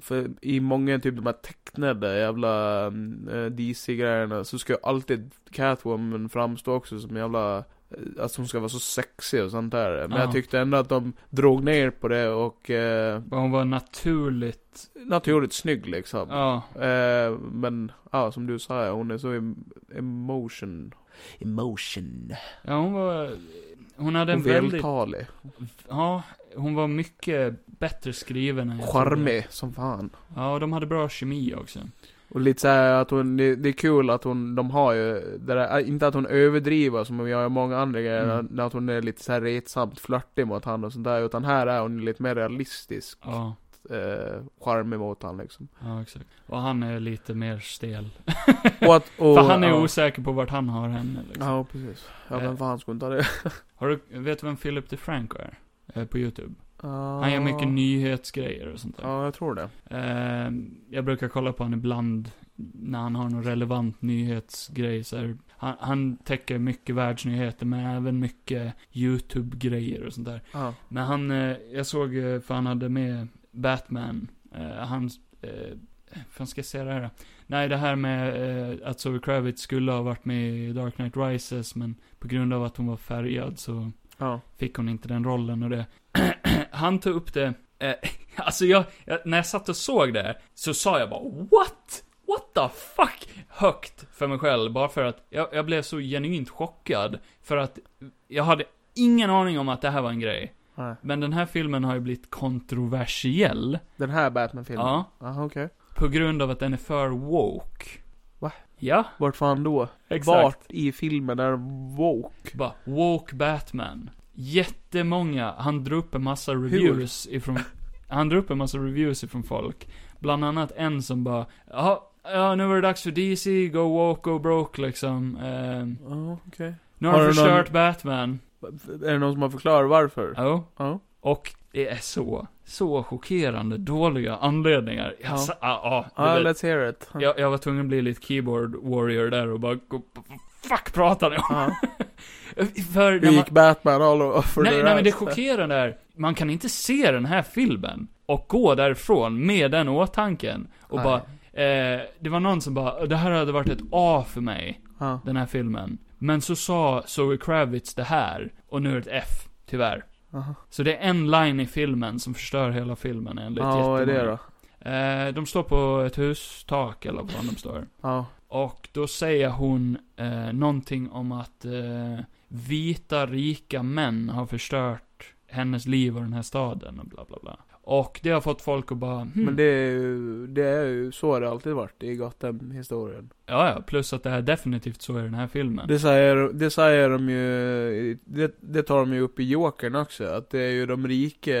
för i många typ de här tecknade jävla eh, DC-grejerna så ska ju alltid Catwoman framstå också som jävla, eh, att hon ska vara så sexig och sånt där. Men Ja. jag tyckte ändå att de drog ner på det och eh, Hon var naturligt, naturligt snygg liksom. ja. Eh, men ja, som du sa, hon är så em- emotion. Emotion. Ja, hon var, hon hade en Hon väldigt, vältalig. ja, hon var mycket bättre skriven än jag trodde. Charmig som fan. Ja, och de hade bra kemi också. Och lite såhär att hon, det det är kul att hon, de har ju det där, äh, inte att hon överdriver som vi har i många andra grejer, Mm. mm. att hon är lite såhär retsamt flörtig mot han och sånt där, utan här är hon lite mer realistisk, Ja, eh, charmig mot han liksom. ja exakt. Och han är lite mer stel. Och att, och, För han är ja. osäker på vart han har henne liksom. Ja, precis. Ja, Eh. men fan skulle inte ha det? Har du, vet du vem Philip DeFranco är? Eh, På YouTube. Han gör mycket nyhetsgrejer och sånt där. Ja, jag tror det. Eh, jag brukar kolla på honom ibland när han har någon relevant nyhetsgrej. Så här, han, han täcker mycket världsnyheter men även mycket YouTube-grejer och sånt där. Ja. Men han, eh, jag såg, eh, för han hade med Batman, eh, han, eh, fan ska jag säga det här då? Nej, det här med eh, att Zoe Kravitz skulle ha varit med i Dark Knight Rises, men på grund av att hon var färgad så Ja. fick hon inte den rollen och det. han tog upp det, eh, alltså jag, jag, när jag satt och såg det här, så sa jag bara what? What the fuck? Högt för mig själv, bara för att jag, jag blev så genuint chockad. För att jag hade ingen aning om att det här var en grej. Nej. Men den här filmen har ju blivit kontroversiell. Den här Batman-filmen? Ja. Ja. Aha, okej. På grund av att den är för woke. Va? Ja, Vart fan då? exakt. Vart i filmen är woke? Bara, woke Batman. Jättemånga, han drar upp en massa reviews ifrån, han drar upp en massa reviews ifrån folk. Bland annat en som bara, ja, ja nu var det dags för DC, go woke, go broke liksom. Ehm, Ja, okej. nu Har har de du förstört Batman. Är det någon som har förklarat varför? Jo. Ja. Och det är så, så chockerande dåliga anledningar. Jag, Ja. sa- ah, ah, det Ja, var- let's hear it. jag, jag var tvungen att bli lite keyboard warrior där och bara, "Gå- fuck pratar ni om? Ja. För när Hur man- gick Batman all over the nej, nej men det rest? chockerande är, man kan inte se den här filmen och gå därifrån med den åtanken och Nej. bara, eh, det var någon som bara, det här hade varit ett A för mig, Ja. den här filmen. Men så sa Zoe Kravitz det här, och nu är det ett F, tyvärr. Aha. Så det är en line i filmen som förstör hela filmen enligt Ja, vad är det jättemånga. då? Eh, de står på ett hustak eller vad fan de står. Ja. Och då säger hon eh, någonting om att eh, vita rika män har förstört hennes liv och den här staden och bla bla bla. Och det har fått folk att bara, hmm, Men det är, ju, det är ju så det alltid varit i Gotham-historien. ja ja, plus att det är definitivt så i den här filmen. Det säger, det säger de ju, i- det, det tar de ju upp i Jokern också, att det är ju de rika,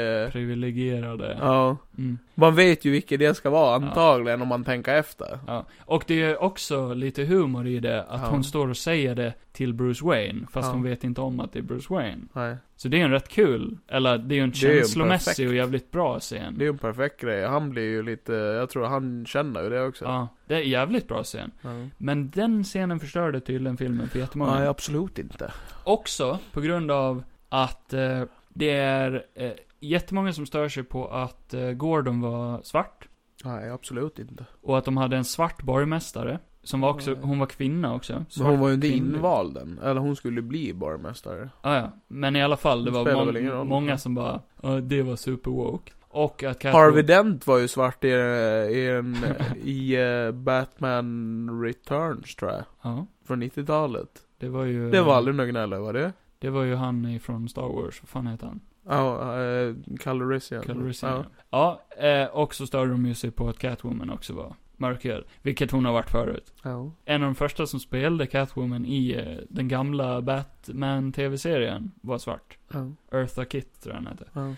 Privilegierade. ja. Mm, Man vet ju vilka det ska vara antagligen om man tänker efter. ja. Och det är också lite humor i det, att Ja. hon står och säger det till Bruce Wayne, fast Ja. hon vet inte om att det är Bruce Wayne. Nej. Så det är en rätt kul, eller det är ju en Det är ju känslomässig perfekt. och jävligt bra scen. Det är ju en perfekt grej, han blir ju lite, jag tror han känner ju det också. Ja, det är en jävligt bra scen. Ja. Men den scenen förstörde tydligen filmen för jättemånga. Nej, absolut inte. Också på grund av att eh, det är eh, jättemånga som stör sig på att eh, Gordon var svart. Nej, absolut inte. Och att de hade en svart borgmästare. Som var också, hon var kvinna också. Men Mm. hon var ju inte kvinnlig. invald än. Eller hon skulle bli borgmästare. Ah, ja. Men i alla fall, det Det var spelar mång- väl ingen roll. många som bara, "Ja, det var super woke. Och att Catwoman... Harvey Dent var ju svart i, i, en, i eh, Batman Returns tror jag. Ja, Från 90-talet. det var ju... Det var aldrig någon gnällare var det? Det var ju han ifrån Star Wars, vad fan heter han? Ja, eh, Calrissian. Calrissian. Ja, eh, och så störde de ju sig på att Catwoman också var mörkhyad. Vilket hon har varit förut. Ja. En av de första som spelade Catwoman i eh, den gamla Batman-tv-serien var svart. Ja. Eartha Kitt tror jag han hette. Ja.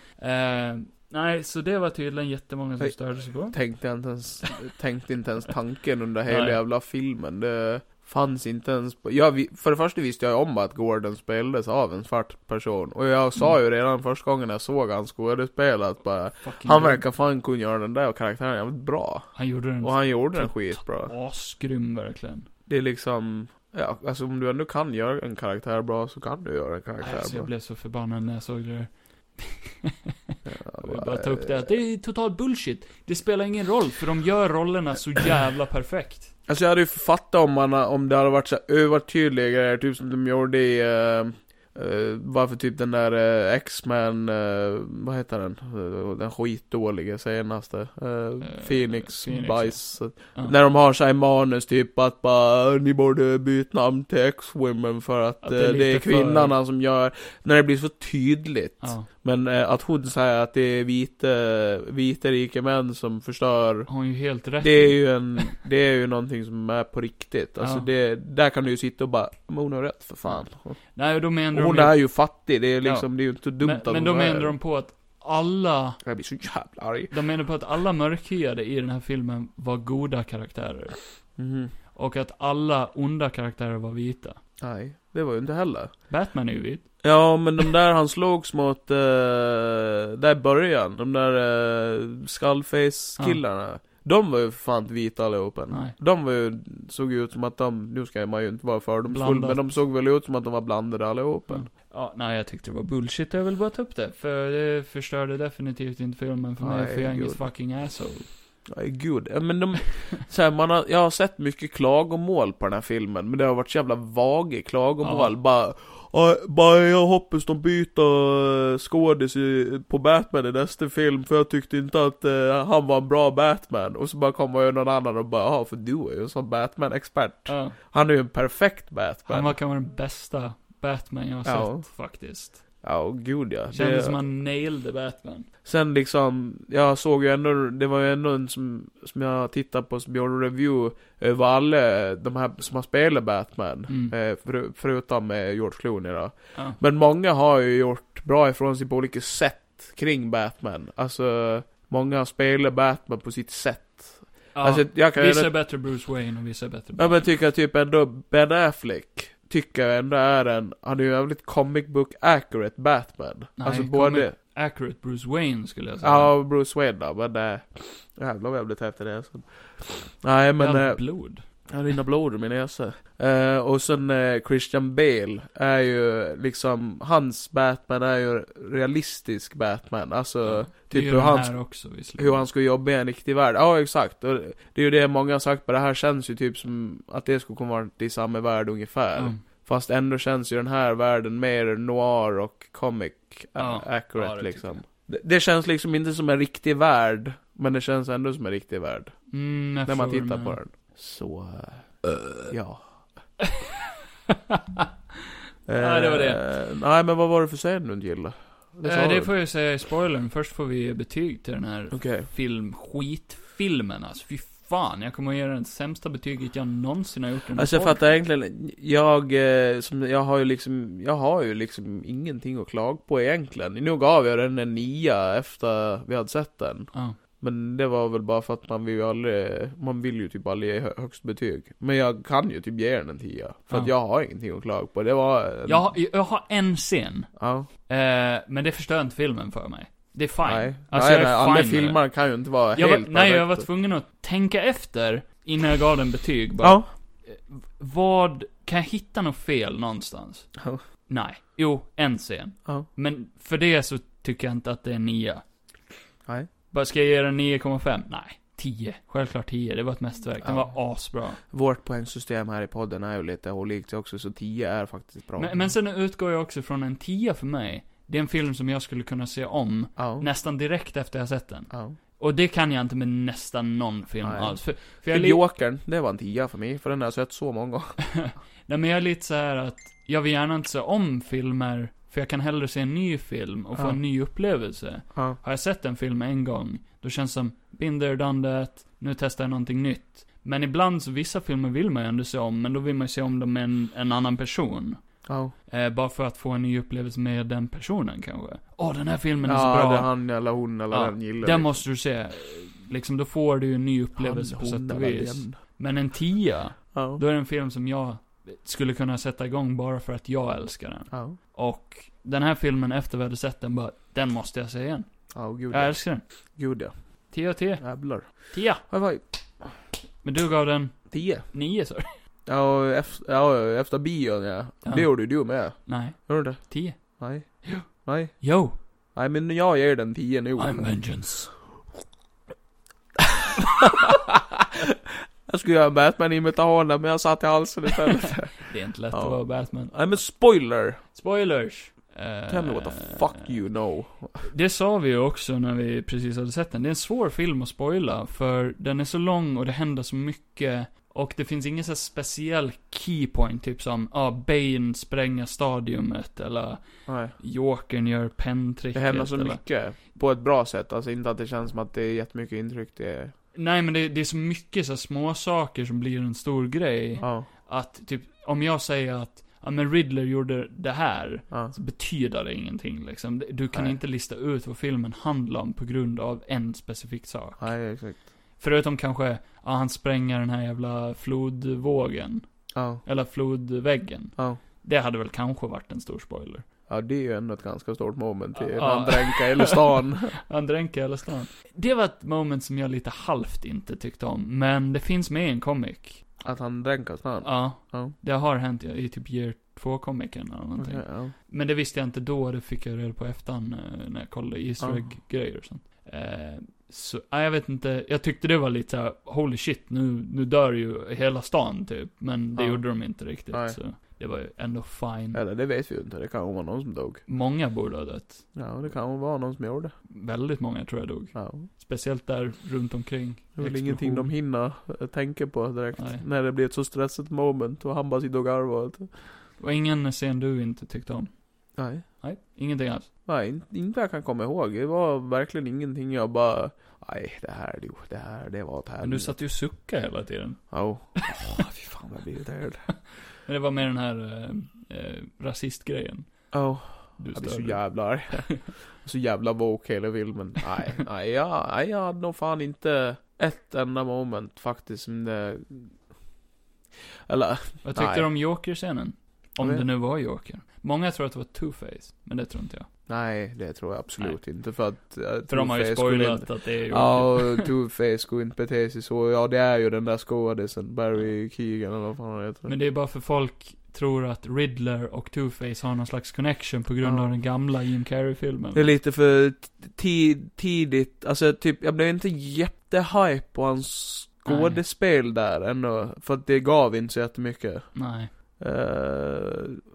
Eh, nej, så det var tydligen jättemånga som Hej. störde sig på. Tänkte jag inte ens, tänkte inte ens tanken under hela Nej. jävla filmen. Det fanns inte ens på, jag, vi- För det första visste jag om att Gordon spelades av en svart person. Och jag sa ju redan första gången jag såg han skådespela att bara, Fucking han grym. verkar fan kunna göra den där karaktären jävligt bra. Han gjorde den Och han gjorde den skitbra. asgrym verkligen. Det är liksom, ja, alltså om du ändå kan göra en karaktär bra så kan du göra en karaktär Alltså, jag bra. blev så förbannad när jag såg det där. Ja, Jag vill bara ta upp eh. det att det är total bullshit. Det spelar ingen roll, för de gör rollerna så jävla perfekt. Alltså jag hade ju fattat om, man, om det hade varit så här övertydliga grejer, typ som de gjorde i... eh, eh, varför typ den där eh, X-Men, eh, vad heter den? Eh, den skitdåliga senaste. Eh, Phoenix, Phoenix, Bice. Ja. När de har sig manus typ att bara, ni borde byta namn till X-Women för att, Att det eh, det är är, lite för- kvinnorna som gör... När det blir så tydligt. Ja. Men eh, att hon säger att det är vita, vita rika män som förstör Har ju helt rätt. det är ju en, det är ju någonting som är på riktigt. Alltså Ja. det, där kan du ju sitta och bara, men hon har rätt för fan. Och Nej, och då menar hon de är ju fattig, det är liksom, det är ju inte dumt men, att men hon då är menar de på att alla, Jag blir så jävla arg. de menar på att alla mörkhyade i den här filmen var goda karaktärer. Mhm. Och att alla onda karaktärer var vita. Nej, det var ju inte heller. Batman är ju vit. Ja, men de där han slogs mot, eh, där i början, de där eh, Skullface-killarna. De var ju för fan inte vita allihopa. Nej. De var ju, såg ju ut som att de, nu ska man ju inte vara fördomsfull, Blandat. men de såg väl ut som att de var blandade allihopa. Mm. Ja, nej jag tyckte det var bullshit, jag vill bara ta upp det. För det förstörde definitivt inte filmen för mig, Nej, för jag är gud. inget fucking asshole. Ja, gud. Ja, Men de, så här, man har, jag har sett mycket klagomål på den här filmen, men det har varit så jävla vaga klagomål. Ja. Bara, "Ja, bara jag hoppas de byter eh, skådis i- på Batman i nästa film, för jag tyckte inte att eh, han var en bra Batman. Och så bara kommer ju någon annan och bara, ja för du är ju en sån Batman-expert. Ja, Han är ju en perfekt Batman. han var kanske den bästa Batman jag har Ja. sett, faktiskt. Ja, gud ja. Kändes Det- som han nailade Batman. Sen liksom, jag såg ju ändå, det var ju ändå en som, som jag tittade på som gjorde review över alla de här som har spelat Batman. Mm. Eh, för, förutom eh, George Clooney då. Ja. Men många har ju gjort bra ifrån sig på olika sätt kring Batman. Alltså, många har spelat Batman på sitt sätt. Ja. Alltså, jag kan ju vissa är ändå, bättre Bruce Wayne och vissa är bättre ja, men jag tycker typ ändå Ben Affleck, tycker jag ändå är en, han är ju en jävligt comic book accurate Batman. Nej, alltså comic- både... Accurate Bruce Wayne skulle jag säga. Ja, Bruce Wayne då, men äh, jävlar vad jag blev täppt i näsan. Nej men, Jävla äh, blod. jag rinner blod ur min näsa. Eh, och sen eh, Christian Bale är ju liksom, hans Batman är ju realistisk Batman. Alltså, det är typ ju hur den han, här också visserligen. hur han skulle jobba i en riktig värld. Ja, exakt. Och det är ju det många har sagt på det här känns ju typ som att det skulle kunna vara i samma värld ungefär. Ja. Fast ändå känns ju den här världen mer noir och comic Ja, a- accurate ja, det tycker liksom. Det, det känns liksom inte som en riktig värld, men det känns ändå som en riktig värld. Mm, jag när man förstår tittar vad på du den. Så, eh, ja. menar. Nej, det var det. Eh, nej, men vad var det för scen du inte gillade? sa Eh, du. det får jag ju säga i spoilern. Först får vi ge betyg till den här Okej. film, skitfilmen alltså. Fy fan, jag kommer att ge den sämsta betyget jag någonsin har gjort i en Alltså jag podd. fattar egentligen, jag, eh, som, jag har ju liksom, jag har ju liksom ingenting att klaga på egentligen. Nu gav jag den en nia efter vi hade sett den. Ja. Men det var väl bara för att man vill ju aldrig, man vill ju typ aldrig ge hö- högst betyg. Men jag kan ju typ ge den en tia. För att Ja. jag har ingenting att klaga på. Det var... En, Jag, har- jag har en scen, ja. eh, men det förstör inte filmen för mig. Det är fine. Nej. Alltså nej, jag nej, är alla fine med det. filmer kan ju inte vara Jag var, helt nej, jag var perfekta. tvungen att tänka efter innan jag gav den betyg. Bara, Ja. Vad, kan jag hitta något fel någonstans? Ja. Nej. Jo, en scen. Ja. Men för det så tycker jag inte att det är en nia. Nej. Bara, ska jag ge den 9,5? Nej. 10. Självklart 10. Det var ett mästerverk. Den Ja. var asbra. Vårt poängsystem här i podden är ju lite olikt också, så 10 är faktiskt bra. Men, men sen utgår jag också från en 10 för mig. Det är en film som jag skulle kunna se om Ja. nästan direkt efter jag sett den. Ja. Och det kan jag inte med nästan någon film Nej. alls. För, för jag, För är li- Jokern, det var en 10 för mig, för den har jag sett så många gånger. nej, men jag är lite så här att jag vill gärna inte se om filmer, för jag kan hellre se en ny film och få Ja. en ny upplevelse. Ja. Har jag sett en film en gång, då känns det som, been there, done that, nu testar jag någonting nytt. Men ibland, så vissa filmer vill man ju ändå se om, men då vill man ju se om dem med en, en annan person. Ja. Eh, bara för att få en ny upplevelse med den personen kanske. Åh, den här filmen är så ja, alltså bra. det är han eller hon eller Ja, den gillar Den vi. måste du se. Liksom, då får du ju en ny upplevelse på sätt och eller vis. den. Men en tia, Ja. då är det en film som jag skulle kunna sätta igång bara för att jag älskar den. Ja. Och den här filmen, efter vi hade sett den, bara, den måste jag se igen. Ja, gud Jag ja. älskar den. Gud ja. Tia, tia, Jävlar. tia. High five. Men du gav den 10. nio, sa du? Ja, och ef- ja, efter bion ja. Ja. Det gjorde ju du med. Nej, Gjorde du det? tio. Nej. Nej. Yo, Nej, men jag ger den 10 nu. I'm vengeance. Jag skulle göra en Batman-imitation men jag satt i halsen istället. Det är inte lätt Ja. att vara Batman. Nej men spoiler! Spoilers! Eh, Tell me what the fuck you know. Det sa vi ju också när vi precis hade sett den. Det är en svår film att spoila, för den är så lång och det händer så mycket. Och det finns ingen så här speciell keypoint, typ som, ja, ah, Bane spränger stadiumet, eller Nej. Jokern gör penntricket. Det händer så eller... mycket. På ett bra sätt. Alltså inte att det känns som att det är jättemycket intryck. Det är... Nej, men det, det är så mycket så här små saker som blir en stor grej. Ja. Att, typ, om jag säger att, ja men Riddler gjorde det här, Ja. så betyder det ingenting liksom. Du kan Nej. inte lista ut vad filmen handlar om på grund av en specifik sak. Nej, exakt. Förutom kanske, ja han spränger den här jävla flodvågen. Ja. Eller flodväggen. Ja. Det hade väl kanske varit en stor spoiler. Ja, det är ju ändå ett ganska stort moment Typ i Ja. ja. dränka eller stan. Han dränker hela stan. Det var ett moment som jag lite halvt inte tyckte om. Men det finns med i en comic. Att han dränkar stan. Ja. Ja. Det har hänt i i typ year 2-comicen eller någonting. Okej, ja. Men det visste jag inte då, det fick jag reda på i efterhand eh, när jag kollade Ja. Easter egg-grejer och sånt. Eh, så, nej, jag vet inte, jag tyckte det var lite såhär, holy shit, nu, nu dör ju hela stan typ. Men det Ja. gjorde de inte riktigt, Nej. så det var ju ändå fine. Eller det vet vi ju inte. Det kan vara någon som dog. Många borde ha dött. Ja, det kan vara någon som gjorde. Väldigt många tror jag dog. Ja. Speciellt där runt omkring. Det är väl ingenting de hinner eh, tänka på direkt. Nej. När det blir ett så stressigt moment och han bara sitter och garvar. åt. Och ingen scen du inte tyckte om? Nej. Nej, ingenting alls. Nej, in- inte vad jag kan komma ihåg. Det var verkligen ingenting jag bara... Nej, det här, jo, det här, det var ett här. Men du satt ju och suckade hela tiden. Ja. Åh, fy fan vad jag blir irriterad. Men det var med den här eh, eh, rasistgrejen. Ja. Du Jag blir så störde. jävla arg. Så jävla woke hela filmen. Nej, nej jag, nej, jag hade nog fan inte ett enda moment faktiskt som det... Eller, Vad tyckte Nej. du om Joker-scenen? Om Jag vet- det nu var Joker. Många tror att det var Two-Face, men det tror inte jag. nej det tror jag absolut inte för att... eh, För de har ju Two-Face skulle spoilat inte- att det är Joker. Ja, och Two-Face skulle inte bete sig så. Ja, det är ju den där skådisen, Barry Keegan eller vad fan han heter. Men det är bara för folk tror att Riddler och Two-Face har någon slags connection på grund Ja. av den gamla Jim Carrey-filmen. Det är lite för t- ti- tidigt, alltså typ, jag blev inte jättehype på hans Nej. skådespel där ändå. För att det gav inte så jättemycket. Nej. Eh,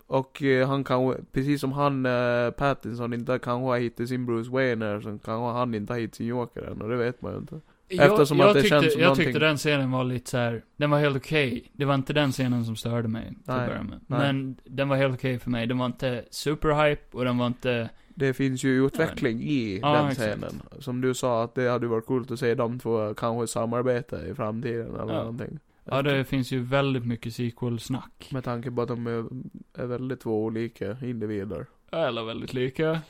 och eh, han kanske, precis som han eh, Pattinson inte kanske har hittat sin Bruce Wayne så kanske han inte har hittat sin Joker än och det vet man ju inte. Eftersom jag, att det tyckte, känns som Jag någonting- tyckte den scenen var lite så här. den var helt okej. Det var inte den scenen som störde mig, till Nej, att börja med. nej. Men den var helt okej för mig. Den var inte superhype och den var inte... Det finns ju utveckling i Ja, den exakt. scenen. Som du sa att det hade varit coolt att se de två kanske samarbeta i framtiden eller Ja. någonting. Ja, det finns ju väldigt mycket sequel-snack. Med tanke på att de är, är väldigt två olika individer. Eller väldigt lika.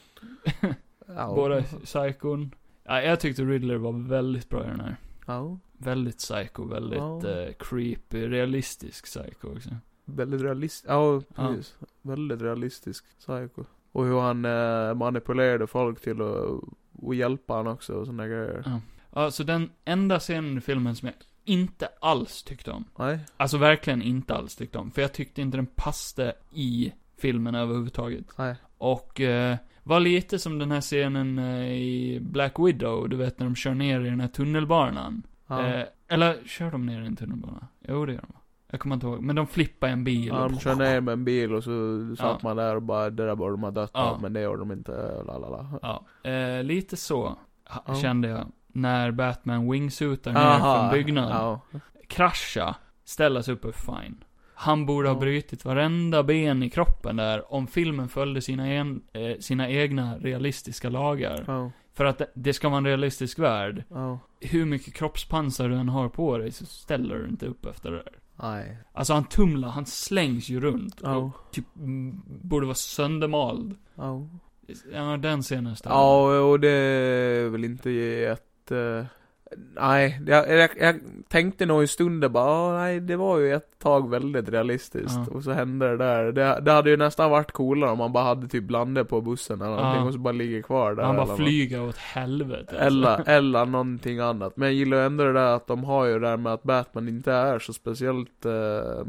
Ja. Båda psykon. Ja, jag tyckte Riddler var väldigt bra i den här. Ja. Väldigt psycho, väldigt Ja. eh, creepy, realistisk psycho också. Väldigt realistisk, ja Ja. precis. Väldigt realistisk psycho. Och hur han eh, manipulerade folk till att och hjälpa han också och sådana grejer. Ja. Ja, så den enda scenen i filmen som jag inte alls tyckte om. Nej. Alltså verkligen inte alls tyckte om. För jag tyckte inte den passade i filmen överhuvudtaget. Nej. Och eh, var lite som den här scenen eh, i Black Widow, du vet när de kör ner i den här tunnelbanan. Ja. Eh, eller kör de ner i en tunnelbana? Jo, det gör de. Jag kommer inte ihåg. Men de flippar en bil. Ja, de kör ner med en bil och så satt Ja. man där och bara, det där borde de ha dött Ja. av, men det gjorde de inte, lalala. Ja, eh, lite så ha- Ja. kände jag. När Batman wingsuitar ner från byggnaden. Ja. Krascha. Ställas uppe, fine. Han borde ha Ja. brutit varenda ben i kroppen där om filmen följde sina, en, eh, sina egna realistiska lagar. Ja. För att det, det ska vara en realistisk värld. Ja. Hur mycket kroppspansar du än har på dig så ställer du inte upp efter det där. Nej. Alltså han tumlar, han slängs ju runt. Ja. Och typ mm, borde vara söndermald. Ja. Ja, den scenen stämmer. Ja, och det är väl inte ett... eh, nej, jag, jag, jag tänkte nog i stunden bara, "Ah, nej, det var ju ett tag väldigt realistiskt. Ja. Och så hände det där. Det, det hade ju nästan varit coolare om man bara hade typ landat på bussen eller Ja. någonting och så bara ligger kvar där. han eller bara något. flyger åt helvete. alltså. Eller, eller någonting annat. Men jag gillar ju ändå det där att de har ju det där med att Batman inte är så speciellt eh,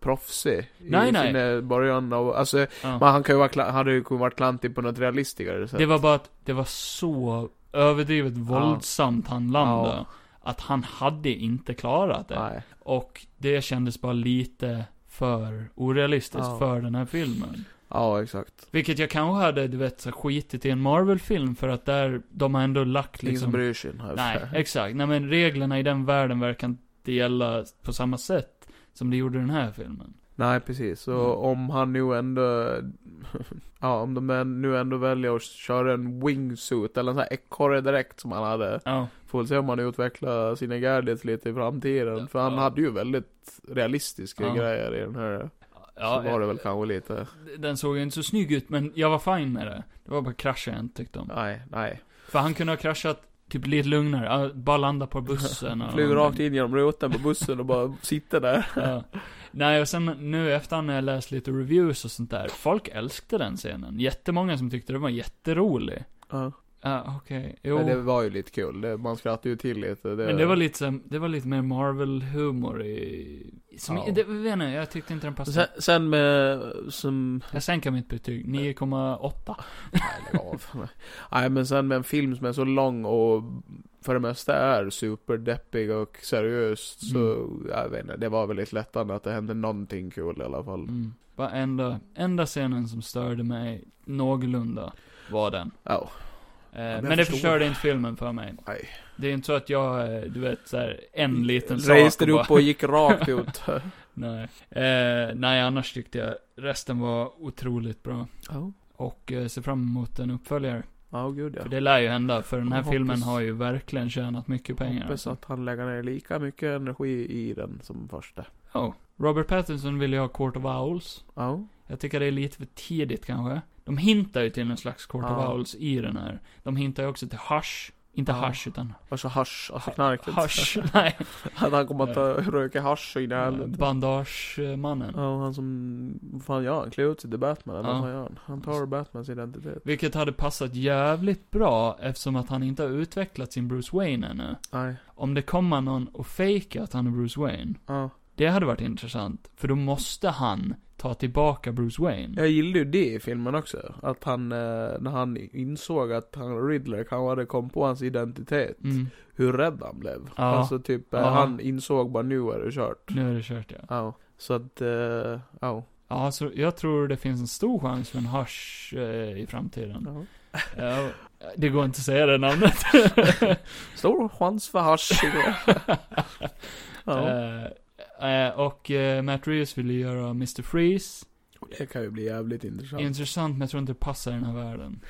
proffsig. Nej, I nej. sina början av, alltså, Ja. men han kan ju vara, kla- hade ju kunnat vara klantig på något realistigare sätt. Det var bara att det var så överdrivet våldsamt han landade. Att han hade inte klarat det. Nej. Och det kändes bara lite för orealistiskt Ja. för den här filmen. Ja, exakt. Vilket jag kanske hade, du vet, så skitit i en Marvel-film för att där, de har ändå lagt Ingen som liksom... bryr sig. här. Nej, exakt. Nej men reglerna i den världen verkar inte gälla på samma sätt som det gjorde i den här filmen. Nej, precis. Så Mm. om han nu ändå... ja, om de än- nu ändå väljer att köra en wingsuit eller en sån här ekorre direkt som han hade. Ja. Får väl se om han utvecklar sina gadgets lite i framtiden. Ja. För han hade ju väldigt realistiska Ja. grejer i den här. Ja, så var det väl kanske lite... Den såg ju inte så snygg ut, men jag var fine med det. Det var bara krascher jag inte tyckte om. Nej, nej. För han kunde ha kraschat typ lite lugnare, ja, bara landa på bussen och Flyger rakt in genom rutan på bussen och bara sitter där. Ja. Nej, och sen nu i efterhand när jag läst lite reviews och sånt där. Folk älskade den scenen. Jättemånga som tyckte det var jätterolig. Ja. Ja, okej. Jo. Men det Men var ju lite kul. Det- Man skrattade ju till lite. det, var lite så, det var lite mer Marvel-humor i... Som, Ja. det, jag vet inte, jag tyckte inte den Sen, passade. sen med, som Jag sänker mitt betyg, 9,8. Nej, lägg av. Nej, men sen med en film som är så lång och för det mesta är superdeppig och seriös så, Mm. jag vet inte, det var väldigt lättande att det hände någonting kul i alla fall. Mm. Bara enda, enda scenen som störde mig någorlunda var den. Ja, Eh, jag men det förstår. förstörde inte filmen för mig. nej. Det är inte så att jag, eh, du vet, så här, en liten sak Reste och du bara- upp och gick rakt ut. Nej. Eh, nej, annars tyckte jag resten var otroligt bra. Ja, Och eh, ser fram emot en uppföljare. oh, gud ja. För det lär ju hända, för den här Jag hoppas- filmen har ju verkligen tjänat mycket pengar. Hoppas alltså. att han lägger ner lika mycket energi i den som första. Ja. Robert Pattinson vill ju ha Court of Owls. Ja, Jag tycker det är lite för tidigt kanske. De hintar ju till en slags Court Ja. of Owls i den här. De hintar ju också till hasch. Inte Ja. hasch, utan och så hasch, alltså knarket. hasch. Nej. Att han kommer att ta- röka hasch in i helvete. Bandagemannen. Ja, och han som, vad fan gör han? Klär ut sig till Batman, eller vad Ja. fan gör han? Han tar Batmans identitet. Vilket hade passat jävligt bra eftersom att han inte har utvecklat sin Bruce Wayne ännu. Nej, Om det kommer någon och fejkar att han är Bruce Wayne. ja. Det hade varit intressant. För då måste han ta tillbaka Bruce Wayne. Jag gillade ju det i filmen också. Att han, eh, när han insåg att han Riddler kanske hade kommit på hans identitet. Mm, Hur rädd han blev. Ja. Alltså typ, eh, Ja. han insåg bara nu är det kört. nu är det kört ja. Ja. Så att, eh, ja. Ja, så jag tror det finns en stor chans för en hasch eh, i framtiden. ja. Ja, det går inte att säga det namnet. Stor chans för hasch. ja. Eh, eh, och eh, Matt Reeves ville göra Mr. Freeze. Det kan ju bli jävligt intressant. Intressant, men jag tror inte det passar i den här världen.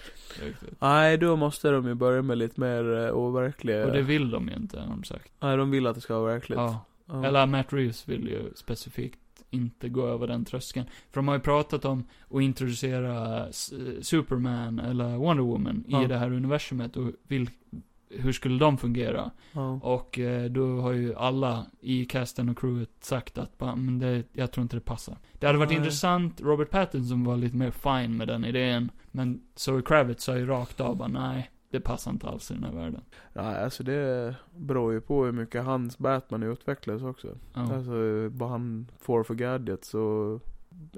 Riktigt. Nej, då måste de ju börja med lite mer eh, overkliga. Och det vill de ju inte, har de sagt. Nej, de vill att det ska vara verkligt. Ja. Ja. Eller Matt Reeves vill ju specifikt inte gå över den tröskeln. För de har ju pratat om att introducera S- Superman eller Wonder Woman i Ja. det här universumet och vil- hur skulle de fungera? Ja. Och eh, då har ju alla i casten och crewet sagt att bara, men det, jag tror inte det passar. Det hade varit Nej. intressant, Robert Pattinson var lite mer fine med den idén. Men Zoe Kravitz sa ju rakt av bara, nej, det passar inte alls i den här världen. Nej, alltså det beror ju på hur mycket hans Batman utvecklas också. Ja. Alltså vad han får för gadgets och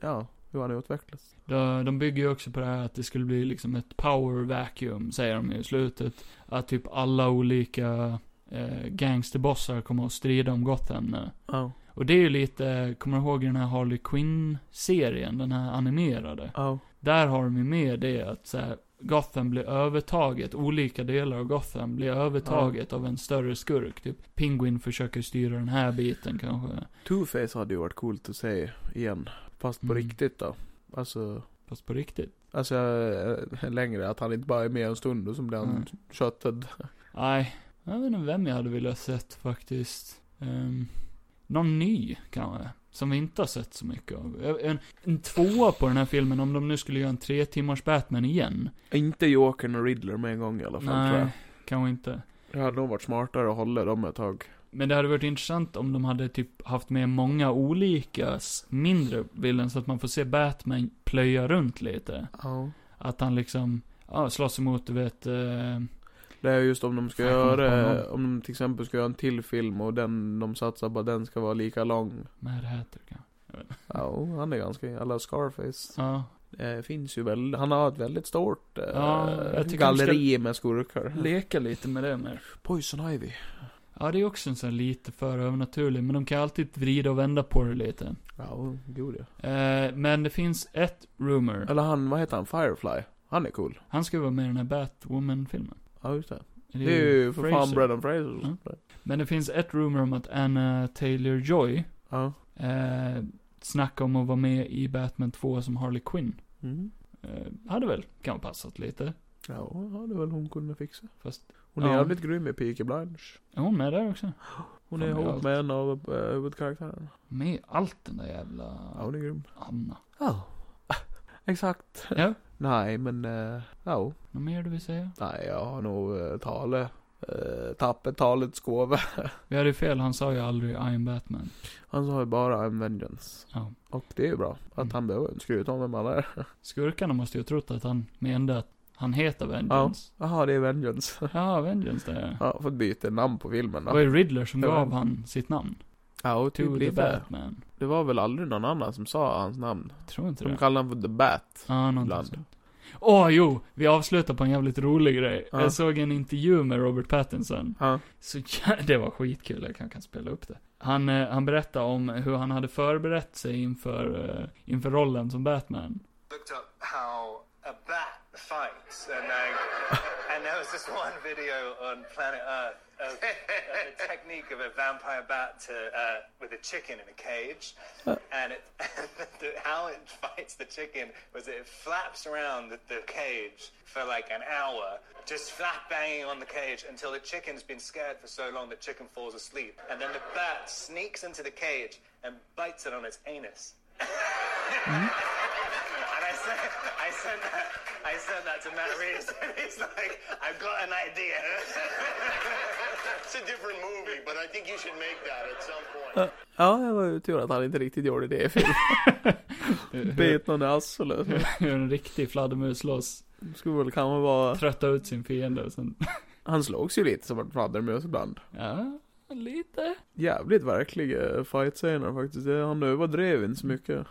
ja, hur han utvecklas. De de bygger ju också på det här att det skulle bli liksom ett power vacuum, säger de ju i slutet. Att typ alla olika eh, gangsterbossar kommer att strida om Gotham nu. Oh. Och det är ju lite, kommer du ihåg den här Harley Quinn-serien, den här animerade? Oh. Där har de ju med det att så här, Gotham blir övertaget, olika delar av Gotham blir övertaget av en större skurk. Typ Penguin försöker styra den här biten kanske. Two-Face hade ju varit coolt att se igen. Fast på Mm. riktigt då. Alltså, Fast på riktigt. alltså eh, längre. Att han inte bara är med en stund och så blir han Mm. köttad. Nej, jag vet inte vem jag hade velat sett faktiskt. Um, någon ny kanske. Som vi inte har sett så mycket av. En, en tvåa på den här filmen, om de nu skulle göra en tre timmars Batman igen. Inte Jokern och Riddler med en gång i alla fall Nej, tror jag. kanske inte. Det hade nog varit smartare att hålla dem ett tag. Men det hade varit intressant om de hade typ haft med många olika s- mindre villain så att man får se Batman plöja runt lite. Ja. Att han liksom, ja, slåss emot, du vet, eh, Det är just om de ska Fan, jag kommer inte på göra, om de till exempel ska göra en till film och den de satsar på att den ska vara lika lång. Mad Hatter kanske. Ja, han är ganska, alla Scarface. Ja, Det finns ju väl, han har ett väldigt stort eh, Ja, jag tycker galleri med skurkar. leka lite med det mer. Poison Ivy. Ja, det är också en sån här lite för övernaturlig, men de kan alltid vrida och vända på det lite. Ja, god ja. Eh, men det finns ett rumor. Eller han, vad heter han, Firefly? Han är cool. Han ska vara med i den här Batwoman-filmen. Ja, just det. Det är ju för fan Fraser. Mm. Brendan Fraser. Ja. Men det finns ett rumor om att Anna Taylor-Joy ja. eh, snackade om att vara med i Batman 2 som Harley Quinn. Mm. Eh, hade väl kanske passat lite. Ja, det väl hon kunde fixa. Fast Hon är Ja. jävligt grym i Peaky Blinders. är hon med där också? Hon Fan, är det är ihop allt. med en av eh, huvudkaraktärerna. Med i allt den där jävla Ja, hon är grym. Anna. Ja. Exakt. Ja, Nej, men eh, ja. något mer du vill säga? Nej, jag har nog uh, tale. Uh, tappet talets gåva. Vi hade ju fel, han sa ju aldrig I am Batman. Han sa ju bara en vengeance. Ja. Och det är ju bra. Att Mm. han behöver inte skryta om vem han är. Skurkarna måste ju ha trott att han menade att han heter Vengeance. Jaha, det är vengeance. Ja, Vengeance det är. ja, fått byta namn på filmen Det då. var ju Riddler som Det var- gav han sitt namn. Ja, och To typ the lite. Batman. Det var väl aldrig någon annan som sa hans namn. Jag tror inte De det. kallade honom för The Bat. Ja, någonting ibland. sånt. Åh, jo! Vi avslutar på en jävligt rolig grej. Ja. Jag såg en intervju med Robert Pattinson. Ja. Så ja, det var skitkul, jag kanske kan spela upp det. Han, eh, han berättade om hur han hade förberett sig inför, eh, inför rollen som Batman. looked up how a bat fights, and like, and there was this one video on Planet Earth of, of the technique of a vampire bat to uh, with a chicken in a cage, and it, the, how it fights the chicken was it flaps around the, the cage for like an hour, just flap banging on the cage until the chicken's been scared for so long that chicken falls asleep, and then the bat sneaks into the cage and bites it on its anus. And I sent, I sent that, I sent that to Matt Reeves, and he's like, "I've got an idea." It's a different movie, but I think you should make that at some point. Ja, det var ju tur att han inte riktigt gjorde det i filmen. Bet någon i arslet. Hur en riktig fladdermus slåss, Skulle väl kanske vara... trötta ut sin fiende och sen... Han slogs ju lite som en fladdermus ibland. Ja, lite. Jävligt verkliga fight-scener faktiskt. Det- Han överdrev inte så mycket.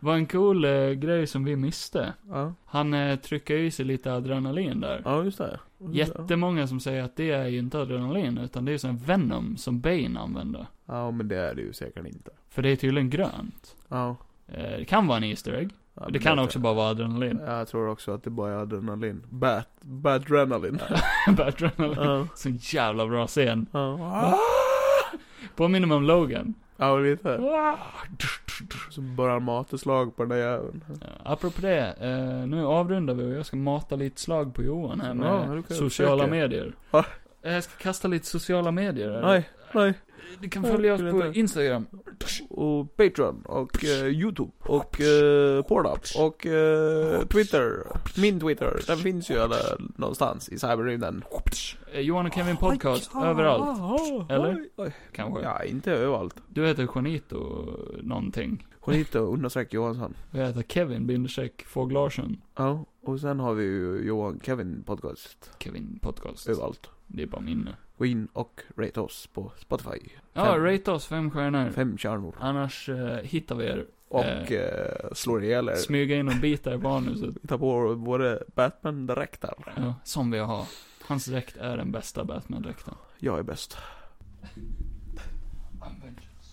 Var en cool eh, grej som vi miste. Ja, Han eh, trycker i sig lite adrenalin där. ja just det. Jättemånga som säger att det är ju inte adrenalin, utan det är sån här venom som Bane använder. Ja, men det är det ju säkert inte. För det är tydligen grönt. Ja. Eh, det kan vara en Easter egg. Ja, Det men kan vet också jag. bara vara adrenalin. Jag tror också att det bara är adrenalin. Bat, badrenalin. adrenalin. Ja. Så jävla bra scen. Ja. Påminner mig om Logan. Ja, lite. Ah! Så bara han matar slag på den där jäveln. Eh, Apropå det, eh, nu avrundar vi och jag ska mata lite slag på Johan här Ja, med du kan sociala försöka. medier. Va? Eh, Jag ska kasta lite sociala medier. här. Nej, nej. Du kan följa oss Nej, på inte. Instagram. Och Patreon och eh, Youtube och eh, Pornhub och eh, Twitter. Min Twitter. Den finns ju alla någonstans i cyberrymden. Eh, Johan och Kevin Podcast, överallt. Eller? Oj, oj. Kanske. Ja, inte överallt. Du heter Juanito någonting. Hon hittar understreck Johansson. Och jag heter Kevin Bindersek Fogh Larsson. Ja, och sen har vi ju Johan Kevin Podcast Kevin Podcast. överallt. Det är bara minne. Gå in och rate oss på Spotify. Ja, Fem. rate oss fem stjärnor. Fem kärnor. Annars eh, hittar vi er. Och Mm. eh, slår ihjäl er. Smyga in och bita er i barnhuset. Vi tar på våra Batman-dräkter. Ja, som vi har. Hans dräkt är den bästa Batman-dräkten. Jag är bäst.